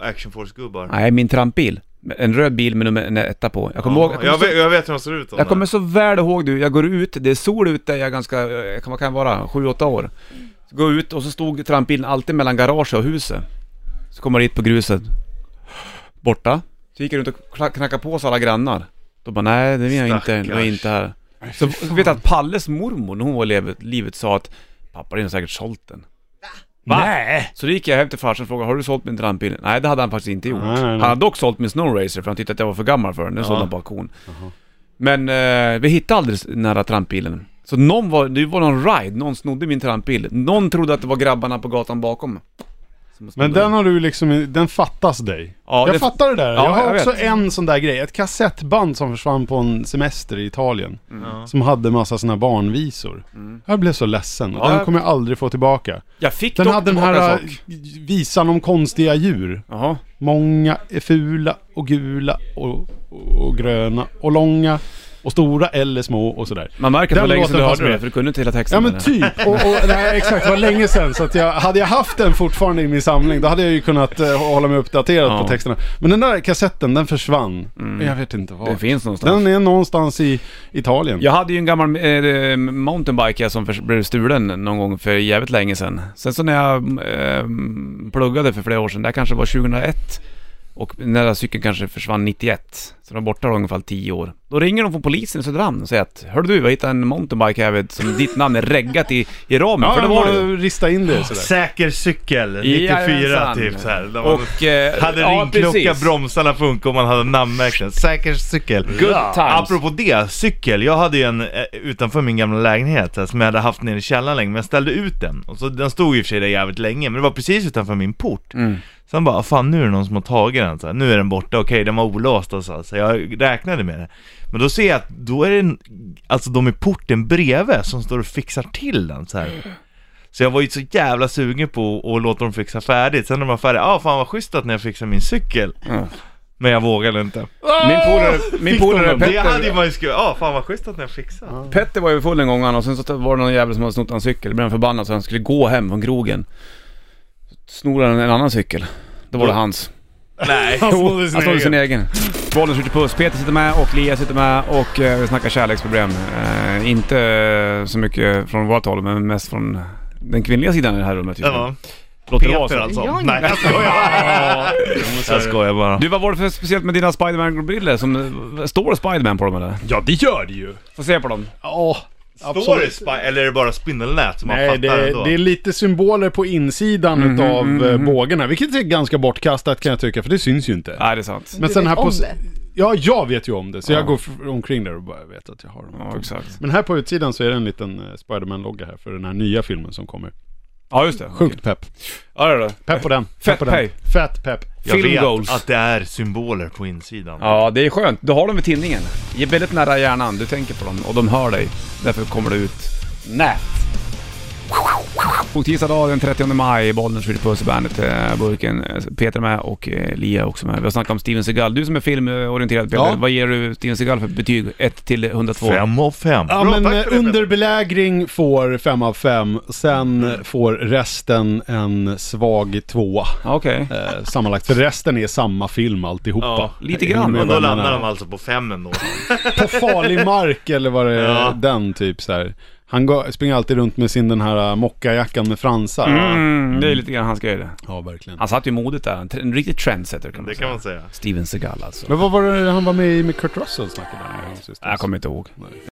[SPEAKER 2] Action Force gubbar
[SPEAKER 1] Nej, min trampbil. En röd bil med nummer en etta på. Jag kommer ihåg...
[SPEAKER 2] ja, jag, vet, jag vet hur de ser ut
[SPEAKER 1] Jag kommer så väl ihåg du, jag går ut, det är sol ute, jag är ganska, eh, kan- vad kan jag vara, 7-8 år. Så går jag ut och så stod trampbilen alltid mellan garaget och huset. Så kommer jag dit på gruset. Borta. Så gick jag runt och kla- knackade på hos alla grannar. Då bara, nej det är jag inte, det är
[SPEAKER 2] Stackars.
[SPEAKER 1] inte här. Så, så vet jag att Palles mormor, när hon var i livet, livet sa att pappa din har säkert sålt den. Va? Nej! Så då gick jag hem till farsan och frågade, har du sålt min trampbil? Nej det hade han faktiskt inte gjort.
[SPEAKER 7] Nej, nej, nej.
[SPEAKER 1] Han hade dock sålt min Snow Racer för han tyckte att jag var för gammal för den, den sålde han på auktion. Men eh, vi hittade aldrig s- den här trampbilen. Så någon var, det var någon ride, någon snodde min trampbil. Någon trodde att det var grabbarna på gatan bakom. Som
[SPEAKER 7] Men den har du liksom, den fattas dig.
[SPEAKER 1] Ja,
[SPEAKER 7] jag
[SPEAKER 1] det-
[SPEAKER 7] fattar det där.
[SPEAKER 1] Ja,
[SPEAKER 7] jag har
[SPEAKER 1] jag
[SPEAKER 7] också
[SPEAKER 1] vet.
[SPEAKER 7] en sån där grej. Ett kassettband som försvann på en semester i Italien.
[SPEAKER 1] Mm.
[SPEAKER 7] Som hade massa såna barnvisor. Jag blev så ledsen och
[SPEAKER 1] Ja,
[SPEAKER 7] den
[SPEAKER 1] jag-
[SPEAKER 7] kommer jag aldrig få tillbaka.
[SPEAKER 1] Jag fick
[SPEAKER 7] Den
[SPEAKER 1] dock
[SPEAKER 7] hade den
[SPEAKER 1] tillbaka
[SPEAKER 7] här
[SPEAKER 1] en sak.
[SPEAKER 7] äh, visan om konstiga djur.
[SPEAKER 1] Jaha.
[SPEAKER 7] Många är fula och gula och, och, och gröna och långa och stora eller små och sådär.
[SPEAKER 1] Man märker att det
[SPEAKER 7] Den
[SPEAKER 1] var länge
[SPEAKER 7] låten
[SPEAKER 1] sedan du
[SPEAKER 7] fattar
[SPEAKER 1] hörde
[SPEAKER 7] du.
[SPEAKER 1] det, för du kunde inte hela texten.
[SPEAKER 7] Ja men
[SPEAKER 1] eller?
[SPEAKER 7] typ, och, och nej, exakt, det var länge sedan så att jag, hade jag haft den fortfarande i min samling då hade jag ju kunnat eh, hålla mig uppdaterad
[SPEAKER 1] Ja.
[SPEAKER 7] på texterna. Men den där kassetten, den försvann. Jag vet inte var.
[SPEAKER 1] Den finns någonstans.
[SPEAKER 7] Den är någonstans i Italien.
[SPEAKER 1] Jag hade ju en gammal eh, mountainbike som förs- blev stulen någon gång för jävligt länge sedan. Sen så när jag eh, pluggade för flera år sedan, det här kanske var 2001 och den där cykeln kanske försvann 91. Så den var borta ungefär 10 år. Då ringer de från polisen i Söderhamn och säger att Hör du, vi har hittat en mountainbike här vid- som ditt namn är reggat i, i ramen.
[SPEAKER 7] Ja,
[SPEAKER 1] för det var det ju.
[SPEAKER 7] Rista in det sådär.
[SPEAKER 2] Säker cykel, 94
[SPEAKER 1] Jajamensan.
[SPEAKER 2] typ så här. Där man
[SPEAKER 1] Och... Eh,
[SPEAKER 2] hade
[SPEAKER 1] ja,
[SPEAKER 2] ringklocka,
[SPEAKER 1] precis.
[SPEAKER 2] bromsarna funkar och man hade namnmärken. Säker cykel.
[SPEAKER 1] Good times.
[SPEAKER 2] Apropå det, cykel. Jag hade ju en eh, utanför min gamla lägenhet eh, som jag hade haft nere i källaren länge, men jag ställde ut den. Och så, den stod i och för sig där jävligt länge, men det var precis utanför min port.
[SPEAKER 1] Mm.
[SPEAKER 2] Sen bara, fan nu är det någon som har tagit den. Så här, nu är den borta, okej den var olåst och så, så jag räknade med det. Men då ser jag att då är det en, alltså de i porten bredvid som står och fixar till den så här. Så jag var ju så jävla sugen på att låta dem fixa färdigt. Sen när de var färdiga, ah fan vad schysst att ni har fixat min cykel.
[SPEAKER 1] Mm.
[SPEAKER 2] Men jag vågade inte.
[SPEAKER 1] Min polare, min polare
[SPEAKER 2] Det
[SPEAKER 1] Petter...
[SPEAKER 2] hade man ju skrivit, ah fan vad schysst att ni har fixat.
[SPEAKER 1] Petter var ju full en gång han och sen så var det någon jävel som hade snott hans cykel. Då blev han förbannad så han skulle gå hem från krogen. Så Snor han en annan cykel. Då var det hans.
[SPEAKER 2] Nej.
[SPEAKER 1] Jo, han snodde sin egen. Bollen skjuter puss. Peter sitter med och Lia sitter med och eh, vi snackar kärleksproblem. Eh, inte eh, så mycket från vårt håll men mest från den kvinnliga sidan i det här rummet just nu.
[SPEAKER 2] Ja.
[SPEAKER 1] Låter det vara
[SPEAKER 2] Peter
[SPEAKER 1] så?
[SPEAKER 2] alltså.
[SPEAKER 3] Ja, ja.
[SPEAKER 2] Nej jag skojar. jag skojar bara.
[SPEAKER 1] Du, vad var det för speciellt med dina Spiderman-brillor? som- Står det Spiderman på dem eller?
[SPEAKER 7] Ja, det gör det ju.
[SPEAKER 1] Får se på dem.
[SPEAKER 7] Ja,
[SPEAKER 2] Står det
[SPEAKER 7] absolut.
[SPEAKER 2] spi- eller är det bara spindelnät som man
[SPEAKER 7] Nej,
[SPEAKER 2] fattar
[SPEAKER 7] det,
[SPEAKER 2] ändå?
[SPEAKER 7] det är lite symboler på insidan
[SPEAKER 1] Mm,
[SPEAKER 7] utav eh, bågarna, vilket är ganska bortkastat kan jag tycka, för det syns ju inte.
[SPEAKER 1] Nej, det är sant.
[SPEAKER 7] Men
[SPEAKER 6] Du
[SPEAKER 7] sen
[SPEAKER 6] vet
[SPEAKER 7] här på...
[SPEAKER 6] om det?
[SPEAKER 7] Ja, jag vet ju om det, så jag går f- omkring där och bara vet att jag har dem.
[SPEAKER 1] Ja, exakt.
[SPEAKER 7] Men här på utsidan så är det en liten eh, Spiderman-logga här för den här nya filmen som kommer.
[SPEAKER 1] Ja, just det.
[SPEAKER 7] Sjukt pepp.
[SPEAKER 1] Ja, det är det.
[SPEAKER 7] Pepp på den.
[SPEAKER 1] Fett
[SPEAKER 7] Pepp på den.
[SPEAKER 1] pej.
[SPEAKER 7] Fett pepp.
[SPEAKER 2] Jag
[SPEAKER 1] Film
[SPEAKER 2] vet
[SPEAKER 1] goals.
[SPEAKER 2] att det är symboler på insidan.
[SPEAKER 1] Ja, det är skönt. Du har dem vid tinningen. Ge väldigt nära hjärnan. Du tänker på dem och de hör dig. Därför kommer det ut nät. Och tisdag dag den 30 maj, Bollnäs skjuter puss i bandet, eh, burken. Eh, Peter är med och eh, Lia också med. Vi har snackat om Steven Seagal. Du som är filmorienterad Peter,
[SPEAKER 7] Ja.
[SPEAKER 1] vad ger du Steven Seagal för betyg? 1 till 102?
[SPEAKER 2] Fem av fem.
[SPEAKER 7] Ja
[SPEAKER 2] Bra,
[SPEAKER 7] men
[SPEAKER 2] tack
[SPEAKER 7] eh,
[SPEAKER 2] för det, Peter.
[SPEAKER 7] underbelägring får 5 av 5, sen eh, får resten en svag tvåa.
[SPEAKER 1] Ja, Okej.
[SPEAKER 7] Eh, sammanlagt, för resten är samma film alltihopa.
[SPEAKER 2] Ja,
[SPEAKER 1] lite grann.
[SPEAKER 7] Med
[SPEAKER 2] Och då
[SPEAKER 7] vännerna.
[SPEAKER 2] landar de alltså på fem ändå.
[SPEAKER 7] På farlig mark eller vad det är,
[SPEAKER 2] Ja.
[SPEAKER 7] den typ så här. Han går, springer alltid runt med sin den här eh, mockajackan med fransar.
[SPEAKER 1] Mm, det är lite grann hans grej det.
[SPEAKER 7] Ja, verkligen.
[SPEAKER 1] Han satt ju i modet där. En, tre- en riktig trendsetter kan man,
[SPEAKER 2] Det
[SPEAKER 1] säga.
[SPEAKER 2] kan man säga.
[SPEAKER 1] Steven Seagal alltså.
[SPEAKER 7] Men vad var det han var med i med Kurt Russell snackade han om? sist?
[SPEAKER 1] Jag kommer inte ihåg.